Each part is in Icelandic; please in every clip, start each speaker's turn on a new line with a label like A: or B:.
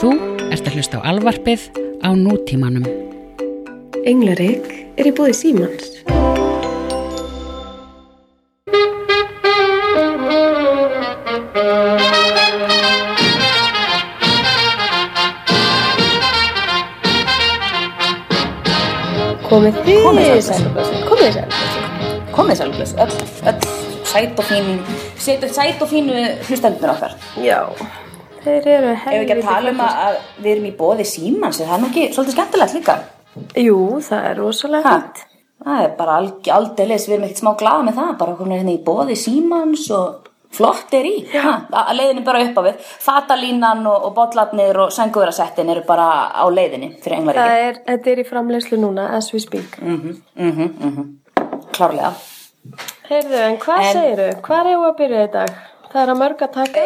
A: Þú ert að hlusta á alvarpið á nútímanum.
B: Englarik er í bóði Símans. Komið þið
C: sælublessu
B: Komið þið sæl.
C: Komið sælublessu, öll, öll sæt og fín sæt, sæt og fínu hlustendur okkar Ef
B: Já. Þeir eru helviti.
C: við ekki að tala um að, að við erum í bóði símans er það nú ekki svolítið skemmtilegt líka
B: Jú, það er rosalega
C: ha,
B: hægt.
C: Það er bara alg- aldeilis, við erum ekkert smá glaða með það bara komin hérna í bóði símans og flott er í ha, að leiðin er bara upp á við fatalínan og, og bollarnir og sængurasettin eru bara á leiðinni fyrir englaríki
B: Það er, þetta er í framleyslu núna, as we speak.
C: mm -hmm, mm -hmm, klárlega
B: Heyrðu, en hvað
C: En-
B: segirðu? Hvað er að byrja í dag? Það er að mörg að taka.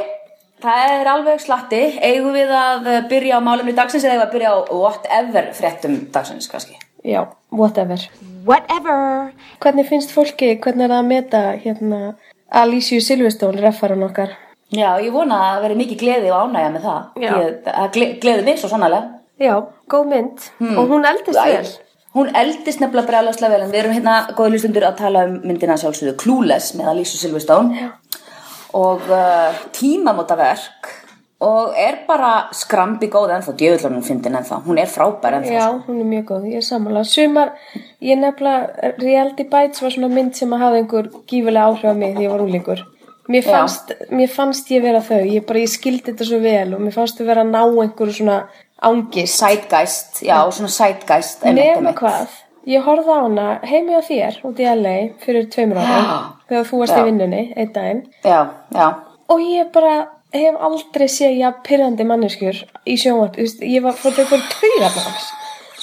C: Það er alveg slatti. Eigum við að eh, byrja á málumni dagsins eða eigum við að byrja á whatever fréttum dagsins kannski?
B: Já, whatever.
D: Whatever.
B: Hvernig finnst fólki, hvernig er það að meta hérna Alicia Silveston, reffaran okkar?
C: Já, ég vona að veri mikið gleði og ánægja með það.
B: Já.
C: Ég, það gle, gleði mig svo sannlega.
B: Já, góð mynd
C: Hmm.
B: Mm. og hún eldist vel.
C: Hún eldist nefnilega brjálagslega vel en við erum hérna, góði hlustundur, að tala um myndina sjálfsögðu Clueless með Alicia Silverstone Já. og uh, tímamótaverk og er bara skrambi góð ennþá, djöðlanum fyndin ennþá. Hún er frábær ennþá.
B: Já, hún er mjög góð, ég er sammála. Sumar, ég nefnilega, Reality Bites var svona mynd sem að hafa einhver gífulega áhrif á mig því ég var úlingur. Mér
C: Já.
B: fannst, mér fannst ég vera þau, ég bara, ég skildi þetta svo vel og mér fannst þau vera að ná einhverju svona ángist.
C: Sætgæst, já, svona sætgæst.
B: Nefna hvað, ég horfði á hana heimi á þér út í LA fyrir tveimur árum
C: Já.
B: þegar þú varst
C: Já.
B: í vinnunni einn daginn
C: Já, já,
B: og ég bara hef aldrei séð jafn pyrrandi manneskjur í sjónvart, Þú veist, ég var fór þau bara taugarnáms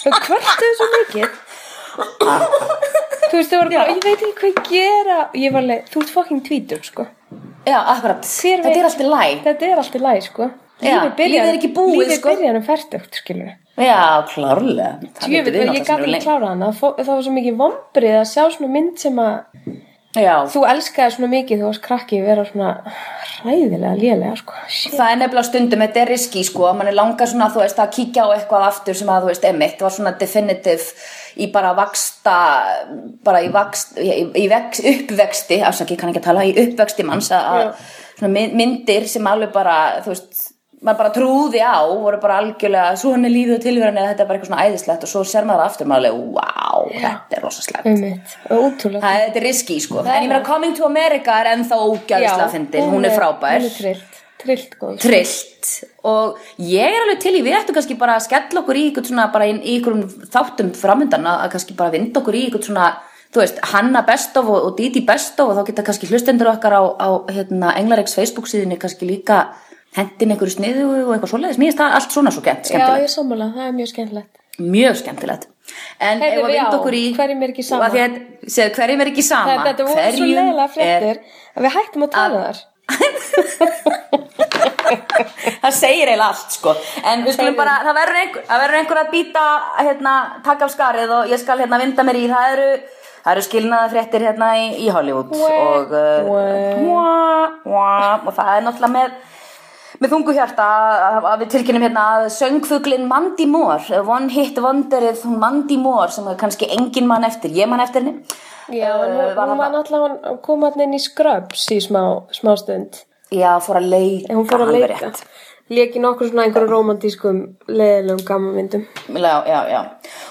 B: og hvert er svo mikið þú veist, þau voru bara, ég veit ekki hvað ég gera og ég var leið, þú ert fucking tvítur sko
C: já, akkurat
B: Þér
C: Þetta er
B: veit-
C: allt í læg
B: þetta er allt í læg sko
C: Já, lífið er ekki búið,
B: lífið
C: sko.
B: byrjar um færtugt skilur við
C: Já, klárlega Það
B: Ég veit,
C: vitum við
B: ég
C: náttúrulega
B: gaf
C: sem
B: ekki
C: erum
B: klára hana, Fó- það var svo mikið vombrið að sjá svona mynd sem að
C: lengi. Já,
B: þú elskaði svona mikið þú varst krakki vera svona ræðilega lélega, sko. Shit.
C: það er nefnilega stundum Þetta er riski, sko Man er langar svona, þú veist, að kíkja á eitthvað aftur sem að, þú veist, emitt var svona definitive í bara vaksta bara í vakst í, í vex, uppvexti, afsaki, ég kann ekki að tala í uppvexti manns að- að svona my- myndir sem alveg bara, þú veist maður bara trúði á, voru bara algjörlega svona lífið og tilverðan eða þetta er bara eitthvað svona æðislegt og svo ser maður það aftur maður alveg, wow, þetta er rosaslegt
B: Um mitt, ótrúlega.
C: Það er þetta er riski sko En ég meina Coming to America er ennþá ógæðislega fyndin Hún er frábær
B: Hún er trillt, trillt góð.
C: Trillt Og ég er alveg til í við ættum kannski bara að skella okkur í ykkur svona bara í, í ykkur þáttum framöndan að að kannski bara vinda okkur í ykkur svona þú veist, Hanna Bestof og, og Didi Bestof og þá geta kannski hlustendur okkar á, á hérna, Englaregs Facebook síðinni kannski líka hendin einhverju sniðu og eitthvað svoleiðis mér er það allt svona svo gent,
B: Já,
C: skemmtilegt
B: ég sammála, það er mjög skemmtilegt.
C: mjög skemmtilegt en
B: Heyrðu,
C: ef að
B: við á,
C: vinda okkur í
B: hverjum er ekki sama?
C: Og að því að- segðu, hverjum er ekki sama
B: Það, þetta voru svo
C: Hverjum
B: leiðilega
C: er-
B: fréttir að við hættum að tala þar.
C: það segir eiginlega allt sko en við skulum
B: Heyrðu.
C: bara, það verður einhver, það verður einhver að býta hérna, taka af skarið og ég skal hérna vinda mér í, það eru það eru skilnaðafréttir hérna í, í Hollywood
B: Mwah.
C: og uh,
B: Mwah.
C: mwah, mwah, og það er náttúrulega með með þungu hjarta að, að við tilkynum hérna að söngfuglin Mandy Moore One Hit Wonderið, hún Mandy Moore sem er kannski engin mann eftir, ég mann eftir henni
B: Já, en hún- hún
C: Eh, var þarna-
B: var náttúrulega að koma hann inn í Scrubs í smá, smá stund.
C: já, fór að leika
B: En hún fór að
C: alveg
B: leika.
C: rétt.
B: Leki nokkur svona einhverjum romantískum leiðilegum gammamyndum.
C: Já, já, já.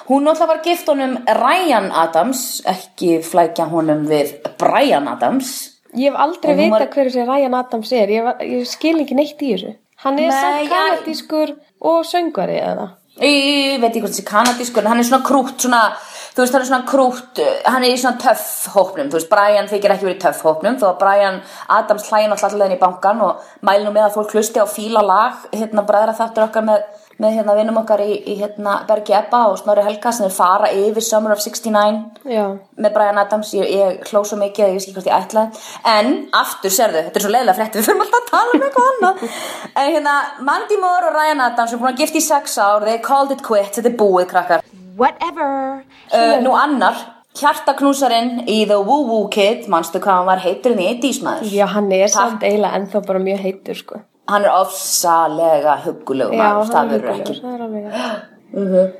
C: Hún náttúrulega var gift honum Ryan Adams, ekki flækja honum við Brian Adams.
B: Ég hef aldrei
C: Og hún var-
B: vitað hverju sér Ryan Adams er, ég, var, ég skil ekki neitt í þessu. Hann er
C: Nei,
B: samt
C: já.
B: kanadískur og söngvari eða.
C: Í, veit ég hvað þessi kanadískur, en hann er svona krútt, svona, þú veist, hann er svona krútt, uh, hann er í svona töff hópnum, þú veist, Brian þykir ekki verið í töff hópnum, þó að Brian Adams hlæði náttúrulega allavega í bankan og mæli nú með að fólk hlusti á fíla lag, hérna, bræðra þáttur okkar með, með hérna, vinum okkar í, í hérna, Bergi Ebba og Snorri Helga sem er fara yfir Summer of 69
B: Já.
C: með Brian Adams, ég, ég hló svo mikið að ég veist ekki hvort ég ætlaði, en aftur serðu, þetta er svo leiðilega frétt, við fyrir alltaf að tala um eitthvað annað, en hérna Mandy Moore og Ryan Adams er búin að gifta í sex ár they called it quits, þetta er búið krakkar
D: Whatever.
C: uh, nú annar, hjartaknúsarinn í The Woo Woo Kid, manstu hvað hann var heitur en í 80s maður
B: Já, hann er samt eiginlega ennþá bara mjög heitur, sko.
C: hann er ofsalega huggulegur
B: Já,
C: maður,
B: hann
C: það
B: er
C: verður ekki
B: huggulegur, það er alveg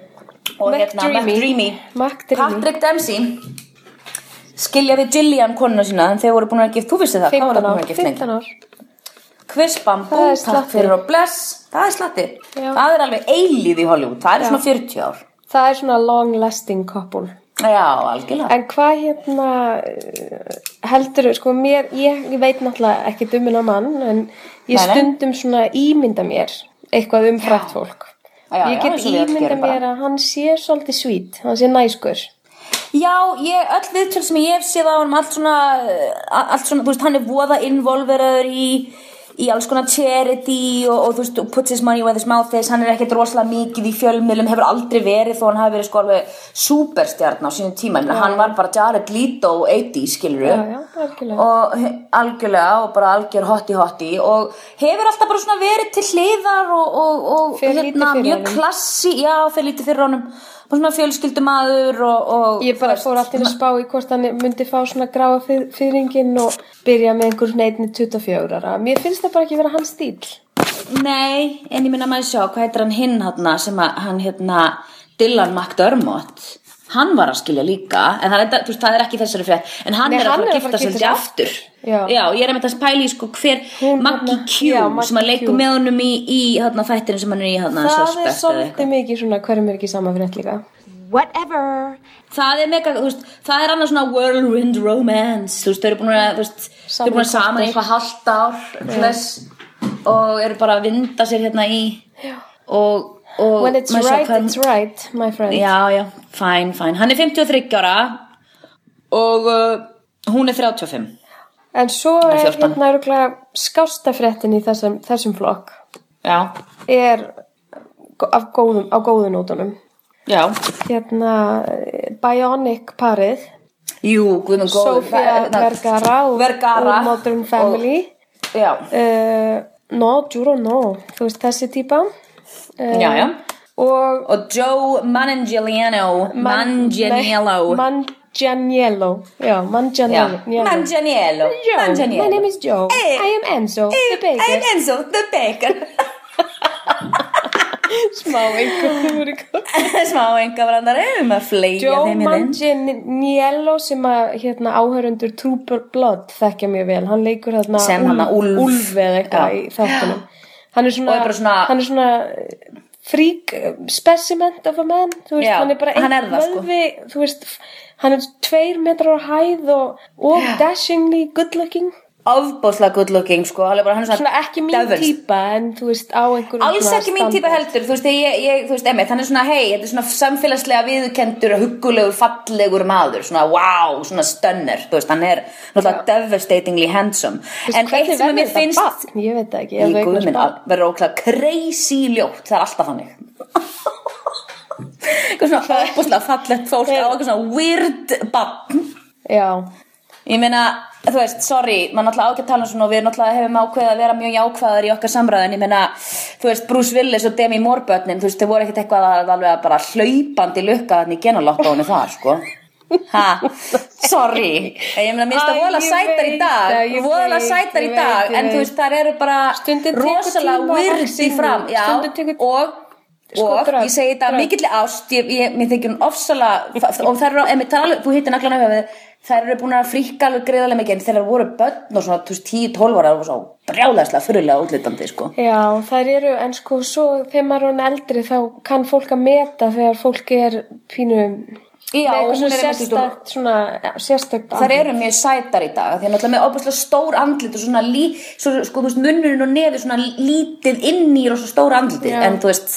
C: og
B: Mac
C: hérna
B: Dreamy.
C: McDreamy
B: Mac Dreamy.
C: Patrick Dempsey skilja við Gillian konuna sína en þeir voru búin að gift, þú vissi það, hvað
B: 15
C: voru búin
B: ár,
C: að gift
B: 15
C: lengi
B: ár
C: Chris Bambú,
B: Það er
C: takk
B: slatti.
C: fyrir og bless það er slatti,
B: Já.
C: það er alveg eilíð í Hollywood, það er svona 40 ár
B: Það er svona long lasting couple
C: já, algjörlega
B: En hvað hérna heldur, sko, mér, ég, ég veit náttúrulega ekki dummina mann, en ég
C: Nei, nei.
B: stundum svona ímynda mér eitthvað um frætt fólk.
C: Já, já,
B: ég
C: já,
B: get
C: eins og við öll
B: ímynda
C: gerum bara.
B: mér að hann sé svolítið svít, hann sé næskur.
C: já, ég, öll viðtöl sem ég hef séð á hann allt svona, eh, allt svona, þú veist, hann er voða involveraður í í alls konar charity og, og þú veist, puts his money where his mouth is hann er ekkert rosalega mikið í fjölmiðlum hefur aldrei verið þó hann hafi verið sko alveg superstjarn á sínum tíma, ja. hann var bara Jared Leto 80, skilur
B: Já, já, algjörlega.
C: og he- algjörlega og bara algjör hotti hotti og hefur alltaf bara svona verið til hliðar og, og, og hérna,
B: Fer lítið fyrir
C: mjög
B: honum.
C: klassi, já, fyrir lítið fyrir honum bara svona fjölskyldumadur og, og
B: Ég bara fór alltaf að spá í hvort hann myndi fá svona gráa fyr- fyrringin og byrja með einhver neitni 24 ára. Mér finnst það bara ekki vera hans stíl.
C: nei, en ég minna maður sjá hvað heitir hann hinn hann sem að hann hérna Dylan McDermott hann var að skilja líka en það er, þetta- þú veist, það er ekki þessari frétt en hann
B: Nei,
C: er að
B: hann er
C: fara að
B: að fara
C: gifta
B: að
C: sig
B: gifta
C: ekki
B: sig
C: aftur
B: Já.
C: ég er að mynda að pæla í sko hver
B: Hún
C: Maggie
B: þarna-
C: Q
B: Já,
C: sem að
B: Maggie
C: leikur
B: Q.
C: með honum í, í þarna, þættinu sem hann er í þarna,
B: Það
C: Suspect
B: er
C: eða eitthvað.
B: svolítið mikið svona hverjum er ekki sama fyrir líka.
D: whatever,
C: það er mega, þú veist, það er annars svona whirlwind romance, þú veist, þau eru búin að þú veist, þau eru
B: Saman
C: búin að
B: í
C: saman
B: korter.
C: í eitthvað halvt ár bless, og eru bara að vinda sér hérna í og, og
B: When it's
C: maður sér
B: right,
C: hvað-
B: it's right, my friend.
C: já, já, fæn, fæn, hann er 53 ára og uh, hún er 35
B: En svo
C: Nei,
B: er
C: 14.
B: hérna örgulega skástafréttin í þessum, þessum flokk
C: já,
B: er gó- af góðum, á góðum nótunum.
C: já
B: Hérna eh, Bionic parið,
C: jú, guðmund góð
B: Sofía Vergara og
C: hérna, Vergara
B: og Modern Family.
C: og, já,
B: Uh, no, Juro, no, þú veist þessi típa. Uh,
C: já, já
B: Og
C: og Joe Manganiello
B: nei,
C: Manganiello
B: Manganiello, já, Manganiello.
C: Já. Manganiello.
B: Joe,
C: Manganiello.
B: my name is Joe.
C: Eh,
B: I am Enzo, the baker.
C: I am Enzo, the baker.
B: Smá einhvern
C: Smá engavrandari, við erum að fleia
B: Joe
C: þeim hérna.
B: Manganiello sem að hérna, áhörundur Trooper Blood þekkja mjög vel, hann leikur þarna
C: Sem hana Úlf.
B: Úlf eða eitthvað
C: Já.
B: í þáttunum hann er svona,
C: Og er bara svona-
B: hann er svona eh, freak specimen of a man þú veist,
C: Já,
B: hann er bara
C: hann er það, sko.
B: vöðvi, þú veist, hann er tveir metrar á hæð og, og dashingly good looking
C: Ofbóðslega good looking, sko. Hann er bara, hann er svona,
B: svona ekki mín
C: devils.
B: típa en þú veist á einhverjum
C: Alls
B: svona
C: ekki mín
B: standard.
C: típa heldur, þú veist, ég, ég, þú veist, emmi, þannig svona, hei, þetta er svona samfélagslega viðkendur, huggulegur, fallegur maður, svona, wow, svona stunner, þú veist, hann er náttúrulega devastatingly handsome.
B: Þú veist,
C: En
B: hvernig
C: eitt sem að
B: verður
C: mér
B: þetta
C: finnst,
B: barn? ég veit það ekki,
C: í
B: ef þú eignast
C: guðminn,
B: barn.
C: verður óklæða crazy ljótt, það er alltaf þannig. Eitthvað svona ofbóðslega fallegt fólk á eitthvað svona weird barn.
B: Já,
C: Ég meina, þú veist, sorry, maður náttúrulega á ekki að tala um svona og við náttúrulega hefum ákveðið að vera mjög jákvæðar í okkar samræðin, ég meina, þú veist, Bruce Willis og Demi Moore börnin, þú veist, þau voru ekkert eitthvað að alveg að bara hlaupandi lukka þannig í genalottónu þar, sko. Ha, sorry, ég meina, mér finnst það
B: Æ,
C: voðalega
B: ég
C: sætar í
B: veit
C: dag,
B: það, ég
C: voðalega
B: veit,
C: sætar í
B: ég
C: dag,
B: veit, ég
C: en þú
B: veit.
C: veist, þar eru bara
B: Stundum tekur tíma að
C: rosalega
B: vaxa
C: virði
B: inn í.
C: fram, já,
B: Stundum tekur-
C: og...
B: Sko,
C: og
B: drögg,
C: ég segi þetta af
B: drögg.
C: mikilli ást ég, ég, mér þykir hún ofsala og þær eru, emi, tala, um- þú hittir naglan af höfuð þær eru búin að fríkka alveg greiðarlega mikið en þegar þær voru börn og svona 10-12 ára og svo brjálæðslega fyrirlega útlitandi sko.
B: já, þær eru, en sko, svo þegar maður er hún eldri þá kann fólk að meta þegar fólk er pínu
C: Já,
B: með eitthvað
C: hún
B: svona
C: er einmitt út úr-
B: sérstakt, svona, ja, sérstakt
C: þær eru mjög sætar í dag því að náttúrulega með opaslega stór andlit og svona lí, svo, sko, þú veist, munnurinn og nefi svona lítið inn í og svo stór andlit
B: Já.
C: en þú veist,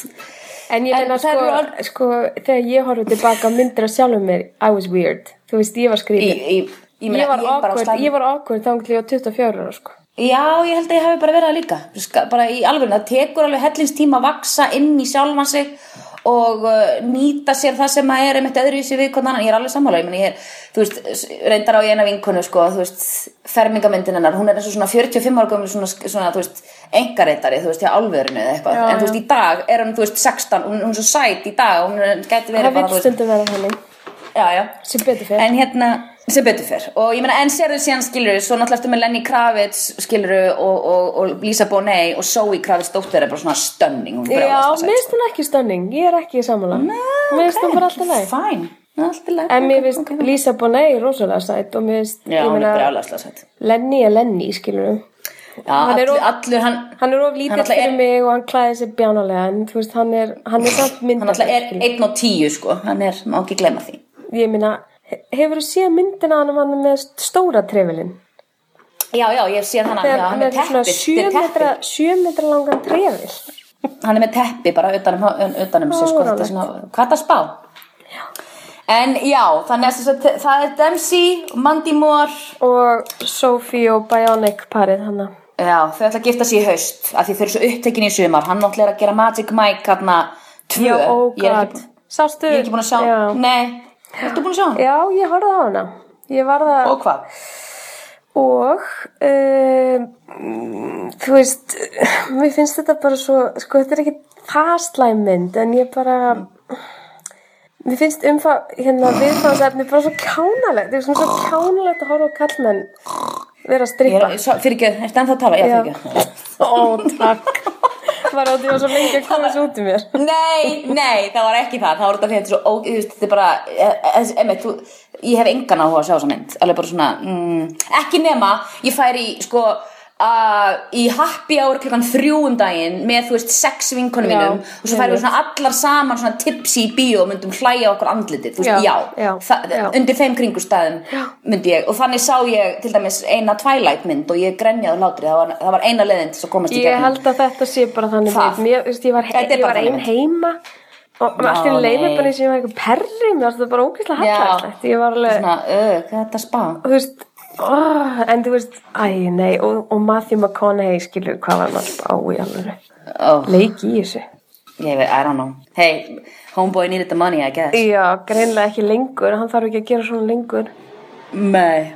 B: En ég
C: en
B: meina,
C: þær
B: sko,
C: eru orð-
B: sko, þegar ég horfði tilbaka á myndir af sjálfum mér, I was weird, þú veist, ég var
C: í,
B: skrýtin
C: í, ég, meina,
B: ég var
C: bara
B: awkward,
C: slæm.
B: ég var awkward þangli á 24 ára, sko
C: Já, ég held að ég hafi bara verið það líka Ska- bara í alveg, það tekur alveg hellingstíma að vaksa inn í sjálfan sig og uh, nýta sér það sem að er einmitt öðru í sig við hvernig annan, ég er alveg sammála ég meni, ég er, þú veist, s- reyndar á ég eina vinkonu sko, þú veist, fermingamyndin hennar hún er eins og svona 45 ára gömul svona, svona þú veist, engareitari, þú veist, hjá álverinu eða eitthvað, en þú veist, í dag er hún, þú veist, 16 hún, hún er svo sæt í dag, hún er- gæti verið
B: Það
C: bara,
B: vil
C: þú veist,
B: stundum vera þannig,
C: já, já
B: sem betur fyrir
C: en hérna sem betur fer og ég meina enn sérðu síðan skilur svo náttúrulega eftir með Lenny Kravitz skilur og, og, og Lisa Bonet og Zoe Kravitz dóttir er bara svona stunning hún er
B: Já,
C: brjálæðislega sæt,
B: minnst hún ekki stunning, ég er ekki í sammála Minnst hún bara alltaf leið
C: fæn alltaf
B: En mér finnst Lisa Bonet rosalega sætt og mér finnst,
C: já
B: ég
C: hún er
B: meina,
C: brjálæðislega sætt
B: Lenny er Lenny, skilur
C: já
B: Hann er
C: allur,
B: of-
C: allur hann
B: Hann er of lítill
C: náttúrulega
B: fyrir
C: er-
B: mig og hann klæði sér bjánalega en þú veist, hann er, hann er samt
C: hann alltaf er
B: myndaflöð.
C: 1 og 10 sko hann er, má ekki glemma því
B: Ég meina, hefur þú séð myndina hann um hann með st- stóra trefilinn?
C: já já ég sé hann já, hann er
B: með svona
C: teppi,
B: sjö
C: þetta er
B: metra,
C: teppi.
B: sjö metra langan trefil.
C: hann er með teppi bara um utanum, utanum sig sko, þetta er svona, hvað það spá en já þannig að þess að það er Dempsey Mandy Moore
B: Og Sophie og Bionic parið hann.
C: Já, þau ætla að gifta sig í haust af því þau eru svo upptekin í sumar hann náttúrulega er að gera Magic Mike hann tvö
B: Já, oh
C: ég, er
B: god.
C: ekki,
B: Sástu?
C: ég er ekki búin að sjá
B: Já,
C: Nei, ertu búin að sjá hann?
B: já ég horfði á hana. Ég var það
C: Og hvað?
B: og um, þú veist, mér finnst þetta bara svo, sko þetta er ekki fastlægmynd en ég bara, mér finnst umfá, hérna viðfáðsefni bara svo kjánalegt, þú veist, hún er svo kjánalegt að horfa á kallmenn vera að
C: Ég
B: strippa.
C: er, svo, fyrir ekki, ertu ennþá að tala? Já,
B: Já.
C: fyrir ekki
B: Ó, takk. Var átti ég var svo lengi að koma þessu út í mér.
C: Nei, nei, það var ekki það það var þetta því að þetta er svo ó, þú veist, þetta er bara eh, eh, emmi, þú, ég hef engan áhuga að sjá þessa mynd alveg bara svona, mm, ekki nema ég færi í, sko Uh, í happy hour klukkan þrjú um daginn með þú veist sex vinkonum
B: Já,
C: mínum og svo færum við
B: einmitt.
C: svona allar saman svona tipsi í bíó og myndum hlæja okkur andlitið þú veist,
B: Já,
C: já,
B: já,
C: það,
B: já.
C: undir þeim kringustæðum myndi ég og þannig sá ég til dæmis eina Twilight mynd og ég grenjaði úr hlátri það var, það var eina leiðin til þess að komast í
B: Ég
C: gegnum
B: held að þetta sé bara þannig
C: Það.
B: mynd. Mér, þú veist, ég var,
C: Þetta er
B: ég
C: bara
B: var ein
C: þannig
B: heima og og allt í
C: Já,
B: leifir
C: nei.
B: bara eins og ég var eitthvað perri, mér varst þetta bara ógeðslega hallæðislegt. Ég var alveg,
C: svona, uh, hvað er þetta spá?
B: og þú veist oh, en þú veist, æ, nei og, og Matthew McConaughey skilur hvað var hann á í alveg
C: Oh,
B: leik í þessu
C: ég veit, I don't know hey, homeboy needed the money, I guess
B: já, greinlega ekki lengur, hann þarf ekki að gera svona lengur
C: nei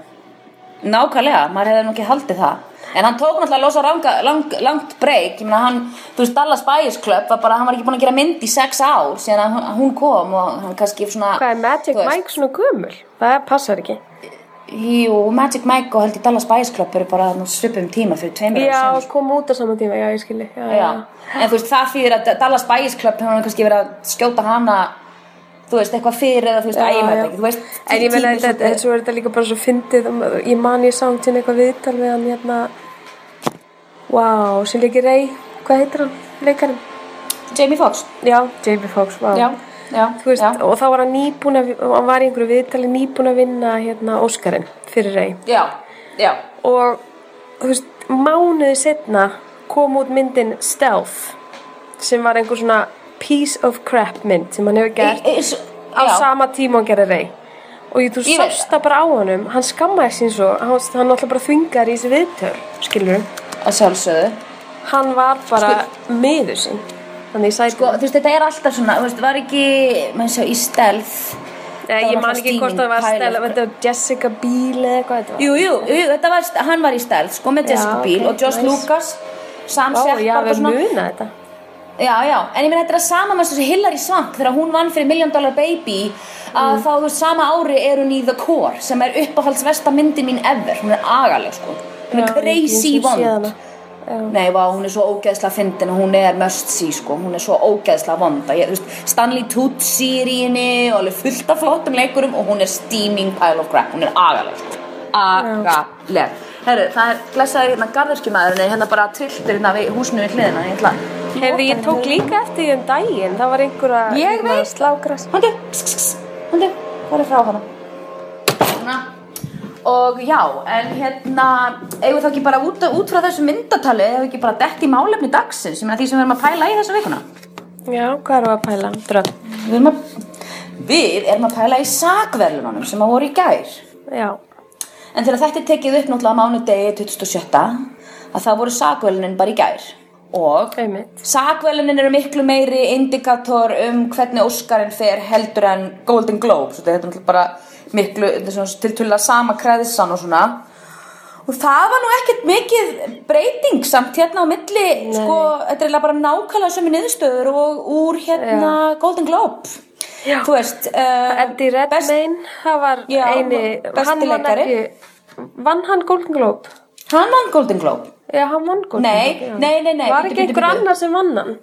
C: nákvæmlega, maður hefði nú ekki haldið það en hann tók náttúrulega losa ranga, lang, langt break ég meina hann, þú veist, Dallas Buyers Club var bara, hann var ekki búin að gera mynd í sex ár síðan að hún- hún kom og hann kannski svona
B: hvað er Magic
C: þú veist,
B: Mike svona gömul? það passar ekki
C: Jú, Magic Mike og held ég Dallas Buyers Club eru bara nú svipum tíma fyrir tveimur árum síðan,
B: já,
C: sko.
B: kom út á sama tíma, já, ég skilji já, já.
C: Já. En þú veist, það fyrir að Dallas Buyers Club hefur hann kannski verið að skjóta hana þú veist, eitthvað fyrir eða þú veist,
B: Já,
C: að ég veit
B: já.
C: ekki, þú veist
B: en ég meina,
C: tími
B: þetta-
C: svolítið-
B: þetta- svo er þetta líka bara svo fyndið um, ég man ég samt sinni eitthvað viðtal við hann hérna wow, sem líki rey hvað heitir hann, leikarinn?
C: Jamie Foxx
B: já, J.B. Fox, wow
C: já,
B: Þú veist,
C: já.
B: og þá var hann nýbúin að, hann var í einhverju viðtali nýbúin að vinna hérna Óskarinn fyrir rey
C: já, já,
B: og þú veist, mánuði setna kom út myndin Stealth sem var einhver svona piece of crap mynd sem hann hefur gert
C: Í- í- s-
B: á
C: já.
B: sama tíma og gerir rey og ég, þú
C: Ég veit
B: sást það bara á honum hann skammaði sín svo, hann, hann alltaf bara þvingar í þessi viðtöl, skilur
C: að sjálfsögðu
B: hann var bara miður sín þannig ég sæti
C: sko, þú veist, þetta er alltaf svona, þú veist, var ekki maður sjá, í stelð
B: Nei,
C: Það
B: ég
C: var
B: man
C: náttúrulega
B: ekki hvort það var
C: Steven
B: Stella,
C: Tyler.
B: þetta var Jessica Biel eða eitthvað þetta var
C: jú, jú, jú, þetta var, hann var í stelð sko, með
B: Já,
C: Jessica
B: ok,
C: Biel og Josh
B: nice.
C: Lucas Sam
B: Ó,
C: Shepard
B: já,
C: og
B: við
C: svona
B: muna þetta.
C: já, já, en ég meina þetta er að sama með þessu Hillary Swank þegar hún vann fyrir Million Dollar Baby að
B: Mm.
C: þá þú veist, sama ári er hún í The Core sem er uppáhalds versta myndin mín ever hún er agaleg, sko hún er
B: Já,
C: crazy
B: ég- ég sé
C: vond
B: hana.
C: Nei, vá, hún er svo ógeðsla fyndin og hún er must see, sko, hún er svo ógeðsla vonda. Ég, þú veist, Stanley Tucci er í henni og alveg fullt af flottum leikurum og hún er steaming pile of crap, hún er agaleg, sko. Agaleg. Herru, það er blessaði hérna garðurkjumæðurinn, hérna bara trilltur hérna við húsinu við hliðina, ég ætla að...
B: Hefði ég tók líka eftir því um daginn, það var einhver að
C: Ég
B: hérna,
C: veit.
B: slágras.
C: Hóndi, kss, kss, hóndi, hvað er frá hana? Svona. Og já, en hérna, eigum við þá ekki bara út, út frá þessu myndatali, eigum við ekki bara dett í málefni dagsins, ég meina því sem við erum að pæla í þessu vikuna?
B: Já, hvað erum við að pæla? Drömm.
C: Við erum að, við erum að pæla í sakverlunum sem að voru í gær.
B: Já.
C: En þegar þetta er tekið upp náttúrulega á mánudegi 27. að það voru sakverlunin bara í gær. Og
B: Einmitt.
C: sakverlunin eru miklu meiri indikator um hvernig Óskarinn fer heldur en Golden Globe. Svo þetta er náttúrulega bara miklu, þetta er svona tiltölulega sama kreðisan og svona. Og það var nú ekkert mikið breyting samt hérna á milli, sko, þetta er eiginlega bara nákvæmlega sömu niðurstöður og úr hérna Golden Globe.
B: Já.
C: þú veist uh,
B: Eddie Redmayne, það var
C: Já,
B: eini,
C: besti
B: hann vann
C: leikari.
B: ekki, vann hann Golden Globe?
C: hann vann Golden Globe
B: Já, hann vann Golden
C: Nei,
B: Globe. já.
C: nei, nei, nei,
B: Var
C: bíddu,
B: ekki
C: bíddu,
B: einhver
C: bíddu.
B: annar sem vann hann?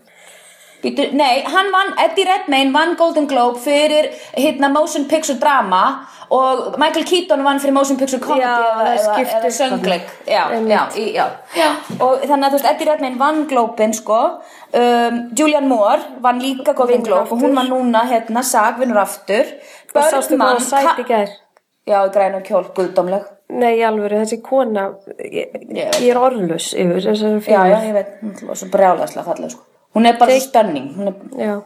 C: Bíddu, nei, hann vann, Eddie Redmayne vann Golden Globe fyrir hérna motion picture drama og Michael Keaton vann fyrir motion picture comedy
B: Já,
C: eða,
B: það
C: eða,
B: skiptir
C: eða söngleik já,
B: Einmitt.
C: já, í, já. og þannig að þú veist, Eddie Redmayne vann Globin sko, um, Julian Moore vann líka Golden
B: Vinnur
C: Globe og
B: aftur.
C: hún var núna hérna, sag, vinnur aftur
B: Það sástu hvað
C: Birdman,
B: hann sæti
C: Ka-
B: í gær?
C: já, í græn og kjól, guðdómleg
B: Nei, í alvöru, þessi kona, ég,
C: Ég veit.
B: ég er orðlös yfir þessari
C: já, já,
B: fyrir.
C: ég veit, hún var svo brjálæslega falleg sko. hún er bara svo stunning hún er
B: já.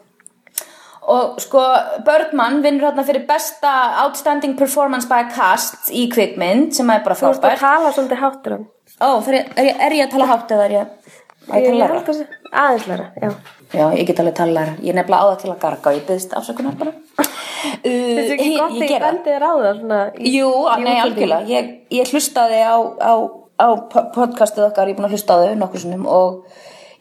C: Og sko, Birdman vinnur hérna fyrir besta outstanding performance by a cast í kvikmynd sem er bara
B: Þú ert að
C: frábært.
B: tala svolítið háttur hann.
C: Ó, fyrir, er, ég, er ég að tala hátt eða er ég að ég tala læra?
B: Aðeins læra, já.
C: Já, ég get alveg tala læra. Ég er nefnilega á það til að garga og ég byggðist afsökunar bara. Uh,
B: Þetta er ekki
C: ég-
B: gott
C: ég
B: þegar ég
C: gera það.
B: bendi þér á það svona. í-
C: Jú,
B: í
C: nei,
B: útlöndum.
C: algjörlega. Ég, ég hlustaði á, á, á po- podcastið okkar, ég er búin að hlusta á þau nokkur sinnum og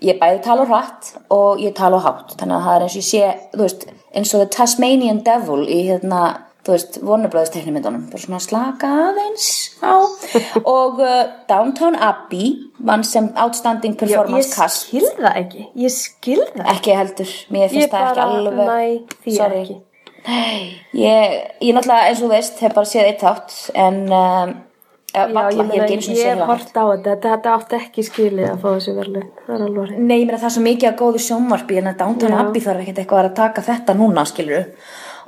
C: ég bæði tala hratt og ég tala hátt. Þannig að það er eins og ég sé, þú veist, eins og the Tasmanian Devil í hérna, þú veist, vonubröðis teknimyndunum. Bara svona slaka aðeins á. og uh, Downtown Abbey vann sem outstanding performance
B: Ég
C: cast.
B: skil það ekki, ég skil það.
C: Ekki heldur, mér
B: Ég
C: finnst það ekki
B: bara
C: alveg.
B: næ því
C: Sorry.
B: ekki.
C: Ég, ég náttúrulega, eins og þú veist, hef bara séð eitt þátt, en um, já,
B: Já,
C: valla,
B: ég
C: ég er
B: meina,
C: ekki eins og
B: ég
C: séð
B: er
C: það.
B: hort á þetta, þetta átti ekki skilið að fá þessi verlu. Það er alveg hreint.
C: Nei, ég meina það er svo mikið að góðu sjónvarpi, en að Downton
B: Já.
C: Abbey þarf ekkert eitthvað að taka þetta núna, skilur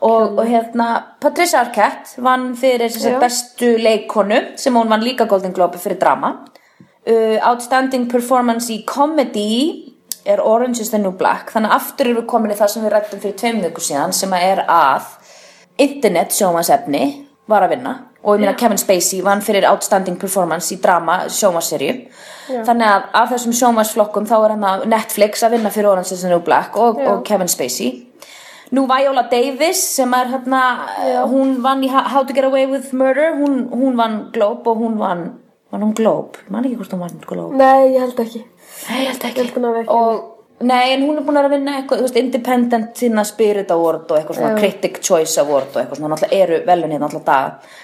C: Og, og hérna, Patricia Arquette vann fyrir þessi
B: Já.
C: bestu leikonu, sem hún vann líka Golden Globe fyrir drama. Uh, outstanding performance í comedy er Orange is the New Black, þannig að aftur erum við komin í það sem við rættum fyrir tveim viku síðan, sem að er að internet sjónvarsefni var að vinna og ég meina Kevin Spacey vann fyrir outstanding performance í drama sjónvarserju þannig að af þessum sjónvarsflokkum þá er hann að Netflix að vinna fyrir Orange is the New Black og,
B: Já.
C: og Kevin Spacey Nú Viola Davis sem er hérna, hún vann í Ho- How to Get Away with Murder, hún, hún vann Globe og hún vann, vann hún Globe, ég man ekki hvort hún vann Globe.
B: Nei, ég held ekki.
C: Nei, ég held
B: Ég held hún hafi ekki
C: Og nei, en hún er búin að vera að vinna eitthvað, þú veist, Independent sinna Spirit Award og eitthvað svona Critic Choice Award og eitthvað svona, náttúrulega eru velun hérna alltaf dag.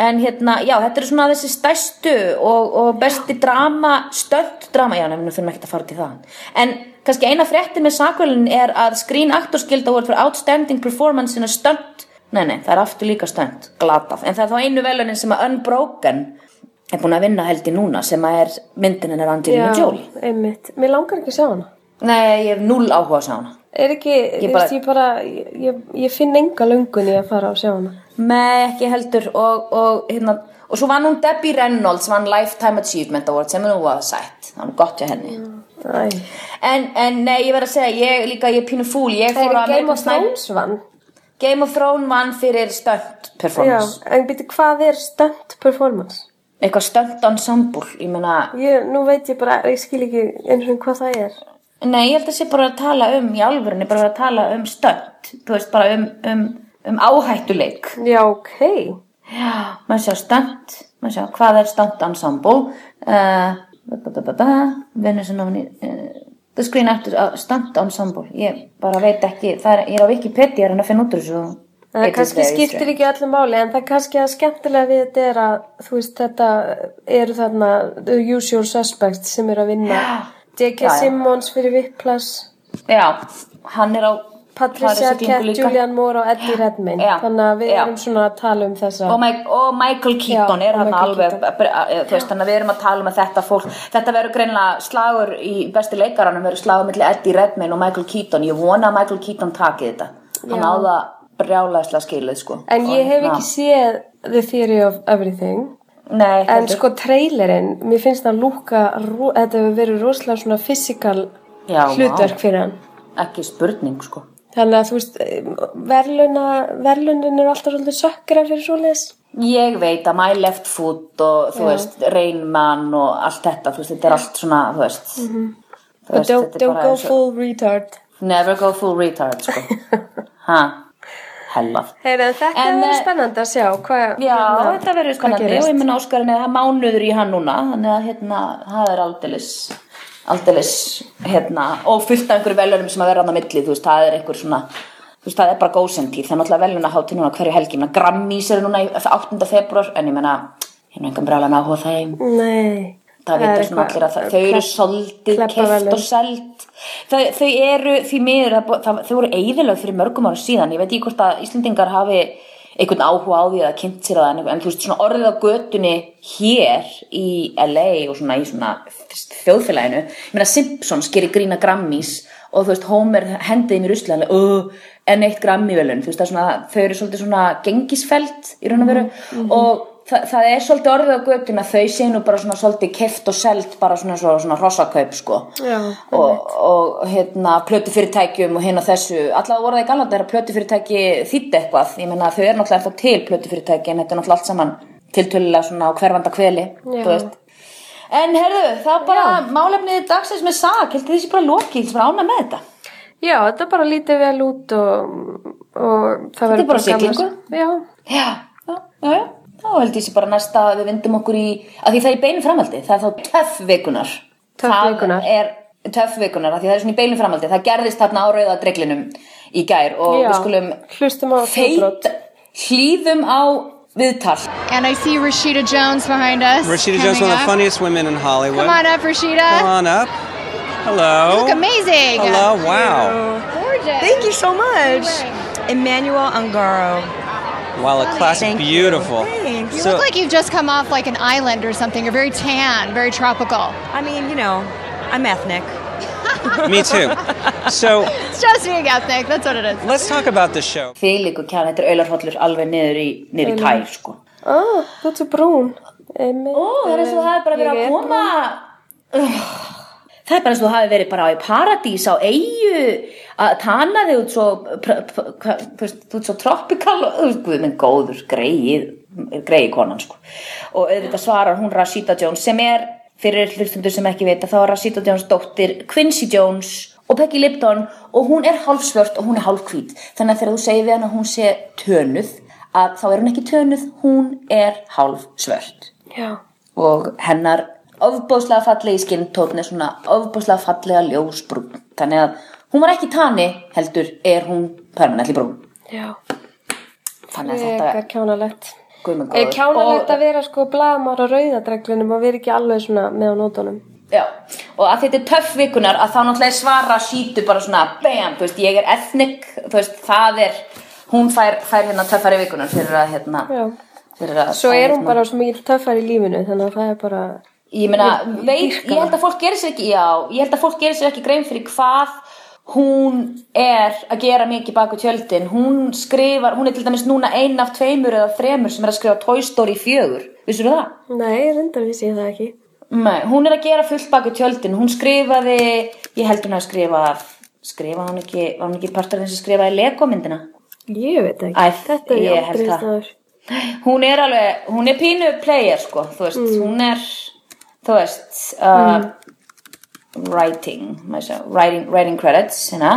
C: En hérna, já, þetta eru svona þessi stærstu og, og besti drama, stöld drama, já, nefnum þurfum ekki að fara til það. En kannski eina fréttin með sakvölin er að Screen Actors Guild Award for Outstanding Performance in a Stunt, nei, nei, það er aftur líka stunt, glatað. En það er þá einu velunin sem að Unbroken er búin að vinna held í núna sem að er myndin hennar Angelina Jolie.
B: Já, einmitt. Mér langar ekki að sjá hana.
C: Nei, ég hef null áhuga að sjá hana.
B: Er ekki, ég
C: bara-
B: bara, ég, bara ég, ég, ég finn enga löngun í að fara og sjá hana.
C: Nei, ekki heldur og, og, hérna, og svo vann hún Debbie Reynolds vann Lifetime Achievement Award sem hún var sætt, hann gott hjá henni
B: Æ.
C: en, en nei, ég verð að segja ég líka, ég er pínu fúl ég
B: Það
C: fór
B: er Game
C: á American
B: of
C: Sniper-
B: Thrones vann.
C: Game of Thrones vann fyrir stunt
B: Já,
C: performance
B: en býti, hvað er stunt performance?
C: eitthvað stunt ensemble, ég meina
B: Ég, nú veit ég bara, ég skil ekki eins og hvað það er.
C: nei, ég held að sé bara að tala um í alvörunni, bara að tala um stunt þú veist, bara um, um, um áhættuleik
B: Já, ok.
C: Já, maður sjá stönd, maður sjá hvað er stönd ensemble, Eh, uh, vinnur sem náni, uh, the screen actor, uh, stönd ensemble, ég bara veit ekki, það er, ég er á Wikipedia að reyna að finna út úr þessu.
B: Það Eh, kannski skiptir ekki öllu máli, en það kannski að skemmtilega við þetta er að, þú veist, þetta eru þarna the usual suspects sem eru að vinna.
C: Já,
B: J.K.
C: já.
B: Simmons fyrir Vipplas,
C: Já, hann er á
B: Patricia
C: Paris
B: Arquette,
C: líka.
B: Julian Moore og Eddie Redmayne.
C: Já,
B: Þannig að við
C: já. Oh
B: erum svona að tala um þessa.
C: og, Mike, og Michael Keaton
B: Já,
C: er
B: og
C: hann
B: Michael
C: alveg
B: Keaton.
C: eh, þú veist, þannig að við erum að tala um að þetta fólk þetta verður greinlega slagur í bestu leikaranum verður slagur milli Eddie Redmayne og Michael Keaton ég vona að Michael Keaton taki þetta hann
B: Já.
C: á það brjálæðslega skilið sko.
B: En ég hef
C: Og,
B: ekki séð The Theory of Everything
C: na, nei, ekki
B: En
C: heldur.
B: sko trailerinn, mér finnst það lúka ro- Þetta hefur verið rosalega svona fysikal
C: Já, vá.
B: hlutverk fyrir hann
C: ekki spurning sko.
B: Þannig að þú veist, eh, verluna, verlunin er alltaf svolítið sökkra fyrir svoleiðis
C: ég veit að My Left Foot og þú veist, Rain Man og allt þetta, þú veist, þetta er allt svona þú veist, mm -hmm. þú
B: Og Mhm. don't,
C: þetta er
B: don't
C: bara
B: go
C: eins og-
B: full retard
C: never go full retard sko. ha, hellað
B: Heyrðu, þetta
C: En,
B: en, verið
C: eh,
B: spennandi að sjá hvað,
C: Já,
B: hérna,
C: þetta verður
B: hvað
C: spennandi og
B: gerist.
C: ég minna Óskarinn er það er mánuður í hann núna þannig að hérna, það er aldeilis aldeilis, hérna og fullt af einhverju velunum sem að vera hann á milli, þú veist, það er einhver svona þú veist, það er bara gósentíð, það er náttúrulega velunaháttir núna á hverju helgi, ég meina Grammys eru núna í 8. februar, en ég meina ég er nú engan brjálan áhuga á þeim
B: Nei.
C: það vita svona allir að það, þau eru soldið keft og seld þau, þau eru því miður það, bú- það, þau voru eigðilega fyrir mörgum ára síðan ég veit ekki hvort að Íslendingar hafi einhvern áhuga á því eða kynnt sér það en, en þú veist svona orðið á götunni hér í LA og svona í svona þjóðfélaginu ég meina Simpsons gerir grína Grammys og þú veist Homer hendiði mér uslanlega uh, en eitt Grammy-velun þú veist það er svona þau eru svolítið svona gengisfelt í raun og veru og Þa, það er svolítið orðið á götuna þau séu nú bara svona svolítið keft og selt bara svona, svona, svona hrossakaup sko
B: Já,
C: og, og hérna plötu fyrirtækjum og hérna þessu allavega voru það í galanda þegar plötu fyrirtæki þýtti eitthvað ég meina þau er náttúrulega ennþá til plötu fyrirtæki en þetta er náttúrulega allt saman tiltölulega svona á hverfanda kveli
B: Já.
C: þú veist. en herðu það er bara málefnið dagsins með sag heldur þessi bara lokið, þessi bara ána með þetta
B: Já, þetta bara lítið vel út og, og það
C: er
B: verður gaman-
C: bara siglingu.
B: Já,
C: Já, já, já, já. Þá held ég sé bara næsta að við vindum okkur í, að því það er í beinu framhaldi, það er þá töff vikunar.
B: Töff vikunnar.
C: Það er töff vikunar, af því það er svona í beinu framhaldi, það gerðist þarna á rauða dreglinum í gær og
B: Já.
C: við skulum
B: Hlustum á hljóðbrot.
C: feit, hlýðum á viðtal.
E: And I see Rashida Jones behind us.
F: Rashida Jones,
E: coming
F: one of the
E: up.
F: funniest women in Hollywood.
E: Come on up,
F: Come
E: Rashida.
F: on up. Hello.
E: Look amazing.
F: Hello. Wow.
E: Gorgeous.
G: Thank you so much.
E: Right.
G: Emmanuel Angaro.
F: Wow, a classic,
G: Thank you.
F: beautiful.
G: Thanks.
E: You
F: So-
E: look like you've just come off like an island or something. You're very tan, very tropical.
G: I mean, you know, I'm ethnic.
F: Me too. So
E: It's just being ethnic. That's what it is.
F: let's talk about the show.
C: Því líku kjana, þetta er auðarhóllur alveg niður í, niður í tær, sko.
B: ah, þú ert svo brún. Emi,
C: Ó, það er eins og það er bara verið
B: Ég
C: að
B: er
C: koma Það er bara eins og það hafi verið bara í paradís á eigu að tana þig út svo pr- pr- hvað- þú veist, þú ert svo tropical og þú veist, guð minn góður, greið greið konan sko og auðvitað svarar hún Rashida Jones sem er fyrir hlustundur sem ekki vita þá er Rashida Jones dóttir Quincy Jones og Peggy Lipton og hún er hálfsvört og hún er hálfhvít þannig að þegar þú segir við hann að hún sé tönuð að þá er hún ekki tönuð, hún er hálfsvört
B: Já,
C: og hennar ofbóðslega fallegi skinntótn er svona ofbóðslega fallega ljósbrún þannig að hún var ekki tani heldur er hún permanentli brún
B: já,
C: þannig að
B: það
C: þetta
B: er kjánalegt.
C: Guð minn
B: Er
C: góður.
B: kjánalegt
C: Og-
B: að vera sko blaðmar á rauðadreglunum og vera ekki alveg svona með á nótunum.
C: Já, og að þetta er töff vikunar að þá náttúrulega er svara sítu bara svona bam, þú veist, ég er ethnic þú veist, það er, hún fær, fær hérna töffari vikunar fyrir að hérna
B: Já.
C: fyrir að
B: Svo
C: að,
B: er hún
C: hérna-
B: bara svo mikið töffar í lífinu, þannig að það er bara...
C: ég meina,
B: Ég- ég
C: veit,
B: dýrka
C: ég held að fólk gerir sér ekki já, ég held að fólk gerir sér ekki grein fyrir hvað hún er að gera mikið baku tjöldin, hún skrifar hún er til dæmis núna ein af tveimur eða þremur sem er að skrifa Toy Story 4 vissur það?
B: Nei, reyndar vissi ég það ekki.
C: Nei, hún er að gera fullt baku tjöldin hún skrifaði, ég held hún að skrifa skrifa hún ekki, var hún ekki partur af þeim sem skrifaði Lego myndina
B: Ég veit ekki.
C: Æ,
B: þetta er
C: ég
B: ég
C: held
B: aldrei
C: það.
B: staður.
C: hún er alveg, hún er pínu player sko, þú veist, hún er þú veist uh, writing, maður segja, writing writing credits, hérna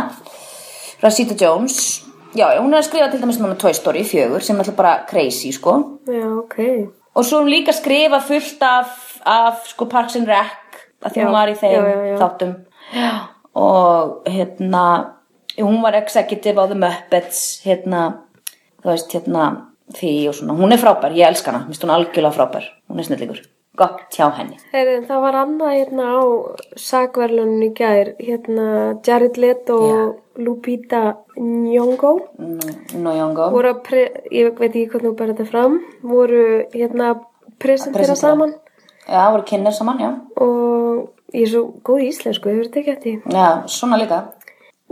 C: Rashida Jones, já, já, hún er að skrifa til dæmis núna Toy Story 4 sem er alltaf bara crazy sko,
B: Já, ok.
C: og svo er hún líka að skrifa fullt af, af sko Parks and Rec að því
B: Já,
C: hún var í þeim
B: já, já, já.
C: þáttum já. og hérna hún var executive á The Muppets hérna þú veist hérna því og svona hún er frábær, ég elska hana, minnst hún algjörlega frábær hún er snillingur, gott hjá henni
B: Heyrðu, það var annað hérna á sagverlunum í gær, hérna Jared Leto og Lupita Nyong'o
C: Nojongo
B: voru að, pre, ég veit ekki hvernig þú berði þetta fram, voru hérna að presentera
C: presentera.
B: saman
C: já, voru kynner saman, já
B: og ég er svo góð í íslensku, þau verður tekið eftir því.
C: já, svona líka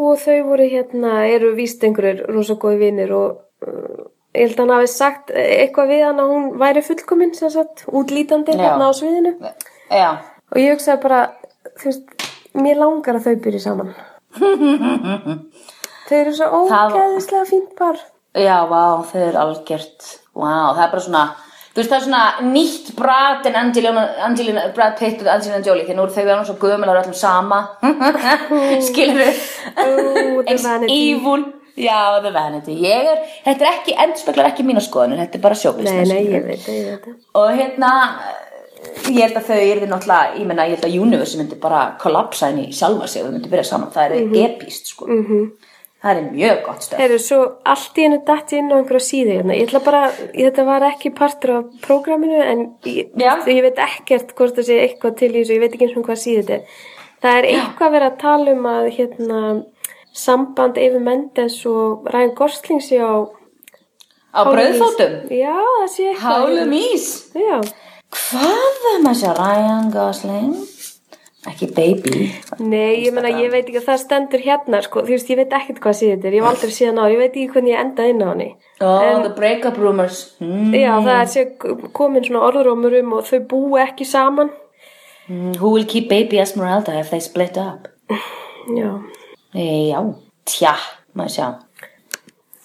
B: Og þau voru hérna, eru víst einhverjir rosa góði vinnir og uh, ég held að hann hafi sagt eitthvað við hann að hún væri fullkomin sem sagt, útlítandi
C: Já.
B: hérna á sviðinu.
C: já,
B: Og ég hugsaði bara, þú veist, mér langar að þau byrja saman. þau eru svo
C: Það-
B: ógeðislega fínt par.
C: Já, vá, þau eru algjört Vá, það er bara svona Þú veist, það er svona nýtt brat en Angelina, Angelina, Brad Pitt og Angelina Jolie því nú eru þau verðum svo gömul og eru öllum sama Skilur
B: Ooh, the
C: þau Eins
B: vanity.
C: evil Já, það vanity Ég er, þetta er ekki, endspeglar ekki mína skoðanir Þetta er bara sjókvist
B: Nei, nei, ég veit það, ég veit það.
C: Og hérna Ég held að þau eru náttúrulega, ég meina, ég
B: Mhm.
C: held að Universe myndi bara kollapsa henni sjálfa sig og þau myndi byrja saman, það er epíst, sko. -hmm. Það er mjög gott stöð.
B: Heyrðu, svo allt í henni datt ég inn á einhverja síðu hérna. Ég ætla bara, þetta var ekki partur af prógraminu en ég,
C: Já.
B: ég veit ekkert hvort það sé eitthvað til í þessu, ég veit ekki eins og hvað síðu þetta er. Það er eitthvað verið að tala um að hérna, samband Efi Mendes og Ryan Gosling sé á
C: Á brauðfótum.
B: Já, það sé eitthvað.
C: Hálum ís.
B: Já,
C: Hvað er maður að segja Ryan Gosling? Ekki baby.
B: nei, ég meina, ég veit ekki að það stendur hérna, sko, þú veist, ég veit ekkert hvað síðu þetta er, ég hef aldrei síðan á, ég veit ekki hvernig ég endaði inn á henni.
C: Oh,
B: En-
C: the breakup rumors. Mm,
B: Já, það er sé komin svona orðrómur um og þau búi ekki saman.
C: who will keep baby Esmeralda if they split up?
B: Já,
C: E, já, tja, maður sjá.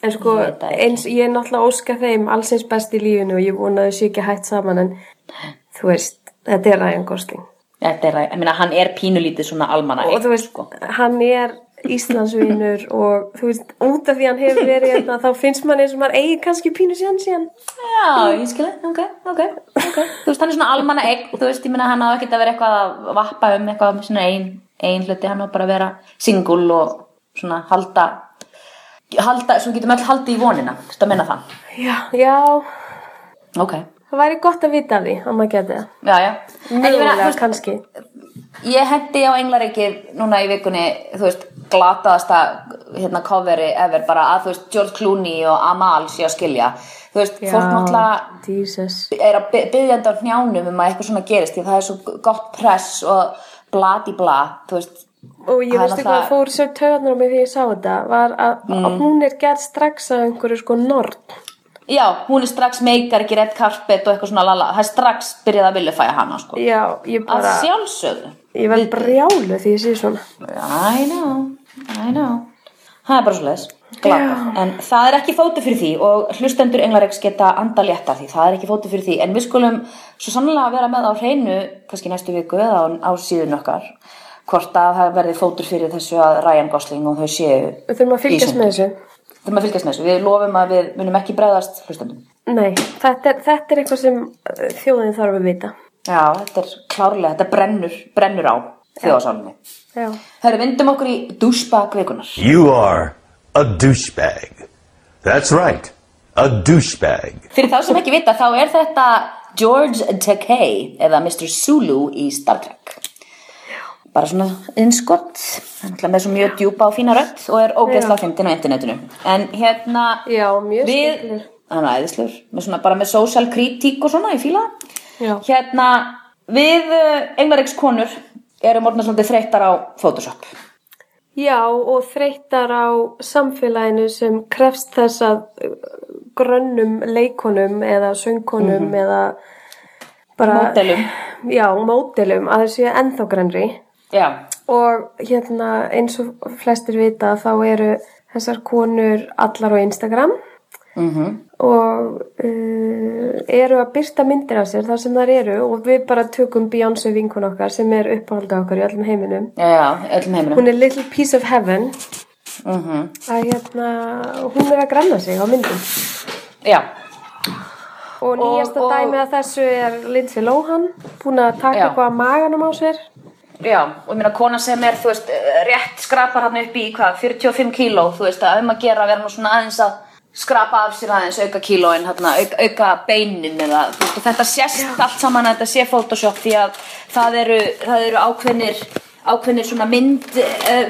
B: en sko,
C: Ég veit það ekki.
B: eins, ég er náttúrulega óska þeim alls eins best í lífinu og ég vona að þau sé ekki hægt saman en þú veist, þetta er Ryan Gosling.
C: Þetta er, ég meina, hann er pínulítið svona almanna.
B: Og þú veist,
C: sko.
B: hann er Íslandsvinur og þú veist, út af því hann hefur verið hérna, þá finnst mann eins og maður eigi kannski pínu síðan síðan.
C: Já, ég skilja, ok, ok, ok. Þú veist, hann er svona almanna eign, þú veist, ég meina hann á ekkert að vera eitthvað að vappa um eitthvað með svona ein, ein hluti, hann á bara að vera singul og svona halda, halda, svo getum öll haldið í vonina, þú veist að menna það.
B: Já, já,
C: Ok,
B: það væri gott að vita af því að maður geti það.
C: já, já. En ég meina, þú
B: Mögulega
C: veist,
B: kannski.
C: Ég hendi á Englaríkið núna í vikunni, þú veist, glataðasta hérna coveri ever bara að, þú veist, George Clooney og Amal sé að skilja. Þú veist, fólk náttúrulega
B: Jesus.
C: er að byggjandi á hnjánum um að eitthvað svona gerist því að það er svo gott press og bladi bla, þú veist
B: Og ég
C: Það er
B: veistu hvað
C: náttúrulega-
B: fór sér töðanar á mig því ég sá þetta var að mm. hún er gerð strax af einhverju sko nord.
C: já, hún er strax meikar, ekki redd carpet og eitthvað svona lala, það er strax byrjað að vilja fæja hana sko,
B: Já, ég
C: að
B: bara,
C: sjálfsögðu
B: ég verð brjálu því ég sé svona.
C: I know, I know það er bara svo leis en það er ekki fótu fyrir því og hlustendur englaregs geta anda létta því það er ekki fótu fyrir því, en við skulum svo sannlega vera með á hreinu, kannski næstu viku eða á, á síðun okkar hvort að það verði fótur fyrir þessu að Ryan Gosling og þau séu
B: Við þurfum að fylgjast
C: Ísum.
B: með þessu.
C: þurfum að fylgjast með þessu, við lofum að við munum ekki bregðast hlustendum
B: Nei, þetta er, þetta er eitthvað sem uh, þjóðin þarf að vita.
C: já, þetta er klárlega, þetta brennur brennur á þjóðasálinni
B: Já.
C: Herru, vindum okkur í douchebag vikunar
H: You are a douchebag. That's right, a douchebag.
C: Fyrir þá sem ekki vita, þá er þetta George Takei eða Mr. Zulu í Star Trek. Bara svona innskott, hann er með svo mjög djúpa og fína rödd og er ógeðslega fyndin á internetinu. En hérna,
B: Já, mjög
C: við,
B: skemmtilegur.
C: hann er æðislur, með svona bara með social kritík og svona, ég fíla.
B: Já.
C: Hérna, við englareiks konur erum orðna svolítið þreyttar á Photoshop.
B: Já, og þreytar á samfélaginu sem krefst þess að uh, grönnum leikonum eða söngkonum eða bara...
C: Mhm. Módelum.
B: Já, mótelum, að þessu er ennþá grönnri.
C: Já,
B: og hérna eins og flestir vita þá eru þessar konur allar á Instagram -hmm.
C: Mhm.
B: og uh, eru að byrta myndir af sér þar sem þær eru og við bara tökum Beyoncé vinkun okkar sem er uppáhaldið okkar í öllum heiminum
C: já, já, öllum Mhm. heiminum.
B: hún er Little Piece of Heaven að hérna hún er að granna sig á myndum
C: Já,
B: og nýjasta
C: og-
B: dæmi að þessu er Lindsay Lohan búin að taka
C: Já.
B: eitthvað af maganum á sér
C: Já, og ég meina kona sem er, þú veist, eh, rétt skrapar hann upp í hvað, 45 kíló, þú veist, að um að gera að vera nú svona aðeins að skrapa af sér aðeins auka kílóin, hérna, auka, auka beinin eða, þú veist, og þetta sést allt saman að þetta sé Photoshop því að það eru, það eru ákveðnir, ákveðnir svona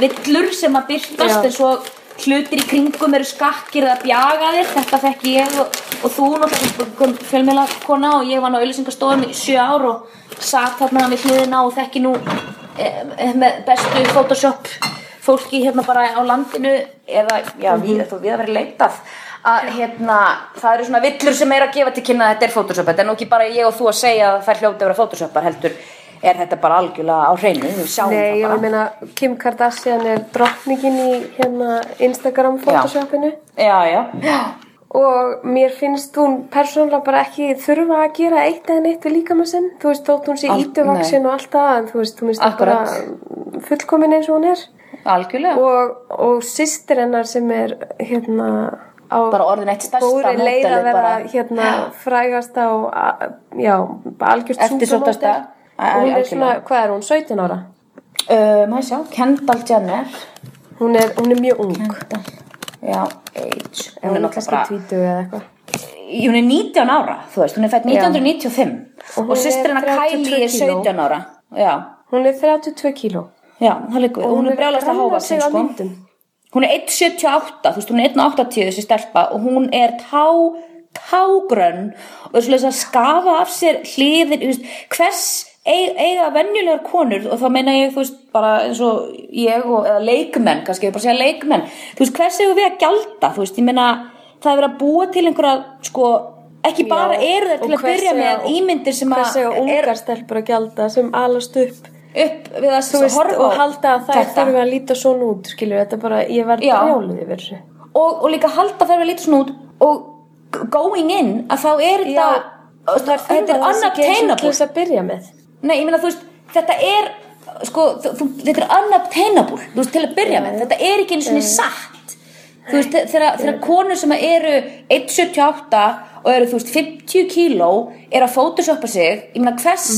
C: myndvillur sem að
B: Já.
C: byrtast eins og hlutir í kringum eru skakkir eða bjagaðir, þetta þekki ég og, og þú náttúrulega fjölmjöla kona og ég var nú auðlýsingastofum í sjö ár og satt þarna við hliðina og þekki nú eh, eh, með bestu Photoshop fólki hérna bara á landinu eða, já,
B: Mhm.
C: við, þú við að vera leitað að hérna, það eru svona villur sem er að gefa til kynna að þetta er Photoshop þetta er nú ekki bara ég og þú að segja að það er hljóti að vera Photoshopar heldur er þetta bara algjörlega á hreinu, við sjáum
B: Nei,
C: það
B: ég
C: bara
B: meina Kim Kardashian er drottningin í hérna Instagram photoshopinu
C: já, já, já
B: og mér finnst hún persónulega bara ekki þurfa að gera eitt eða neitt við líkamann sinn, þú veist, þótt hún sé
C: Al-
B: ítuvaksin og allt það, en þú veist, hún er bara fullkomin eins og hún er
C: algjörlega
B: og, og sýstir hennar sem er hérna á
C: bara orðin eitt stærsta
B: góðri leið
C: módelið
B: að vera
C: bara.
B: hérna frægasta og a- já, algjörst
C: Eftirsóttasta.
B: supermodel. og hún er svona,
C: Algjörlega.
B: hvað er hún, 17 ára?
C: uh, maður sjá, Kendall Jenner
B: Hún er, hún er mjög ung
C: Kendall já, age
B: Hún
C: hún er
B: kannski
C: náttúrulega bara,
B: tvítugu eða eitthvað.
C: hún er 19 ára þú veist, hún er fætt 1995
B: Og
C: og,
B: hún er
C: systir hennar
B: 32
C: Kylie er 17 ára já,
B: Hún er 32 kíló.
C: já, það liggur við og hún er brjálast að háa sig sko hún er 1,78, þú veist, hún er 1,80 þessi stelpa og hún er tá, tágrönn og er svolítið að skafa af sér hliðin, þú veist, hvers eig- eiga venjulegar konur og þá meina ég, þú veist, bara eins og ég og, eða leikmenn, kannski ég bara segja leikmenn þú veist, hvers eigum við að gjalda, þú veist, ég meina það er verið að búa til einhverja, sko, ekki bara eru þeir til að byrja með ímyndir sem
B: að... Hvað
C: að
B: segja
C: er
B: ungar stelpur að gjalda sem alast upp
C: upp við að
B: þú veist,
C: horfa á
B: og halda að þær
C: þetta.
B: þurfa að líta svona út, skilur, þetta er bara, ég verð
C: Já.
B: brjáluð yfir þessu.
C: og, og líka halda þær að líta svona út og g- going in að þá er
B: Já,
C: þetta þetta
B: Þurfa
C: er
B: þessi geisun til
C: unobtainable
B: þess að byrja með.
C: nei, ég meina þú veist, þetta er sko, þú, þú- þetta er unobtainable þú veist, til að byrja með, þetta er ekki einu svona satt þú veist, þe- þegar þegar konur sem eru 1,78 og eru, þú veist, 50 kíló eru að photoshoppa sig, ég meina hvers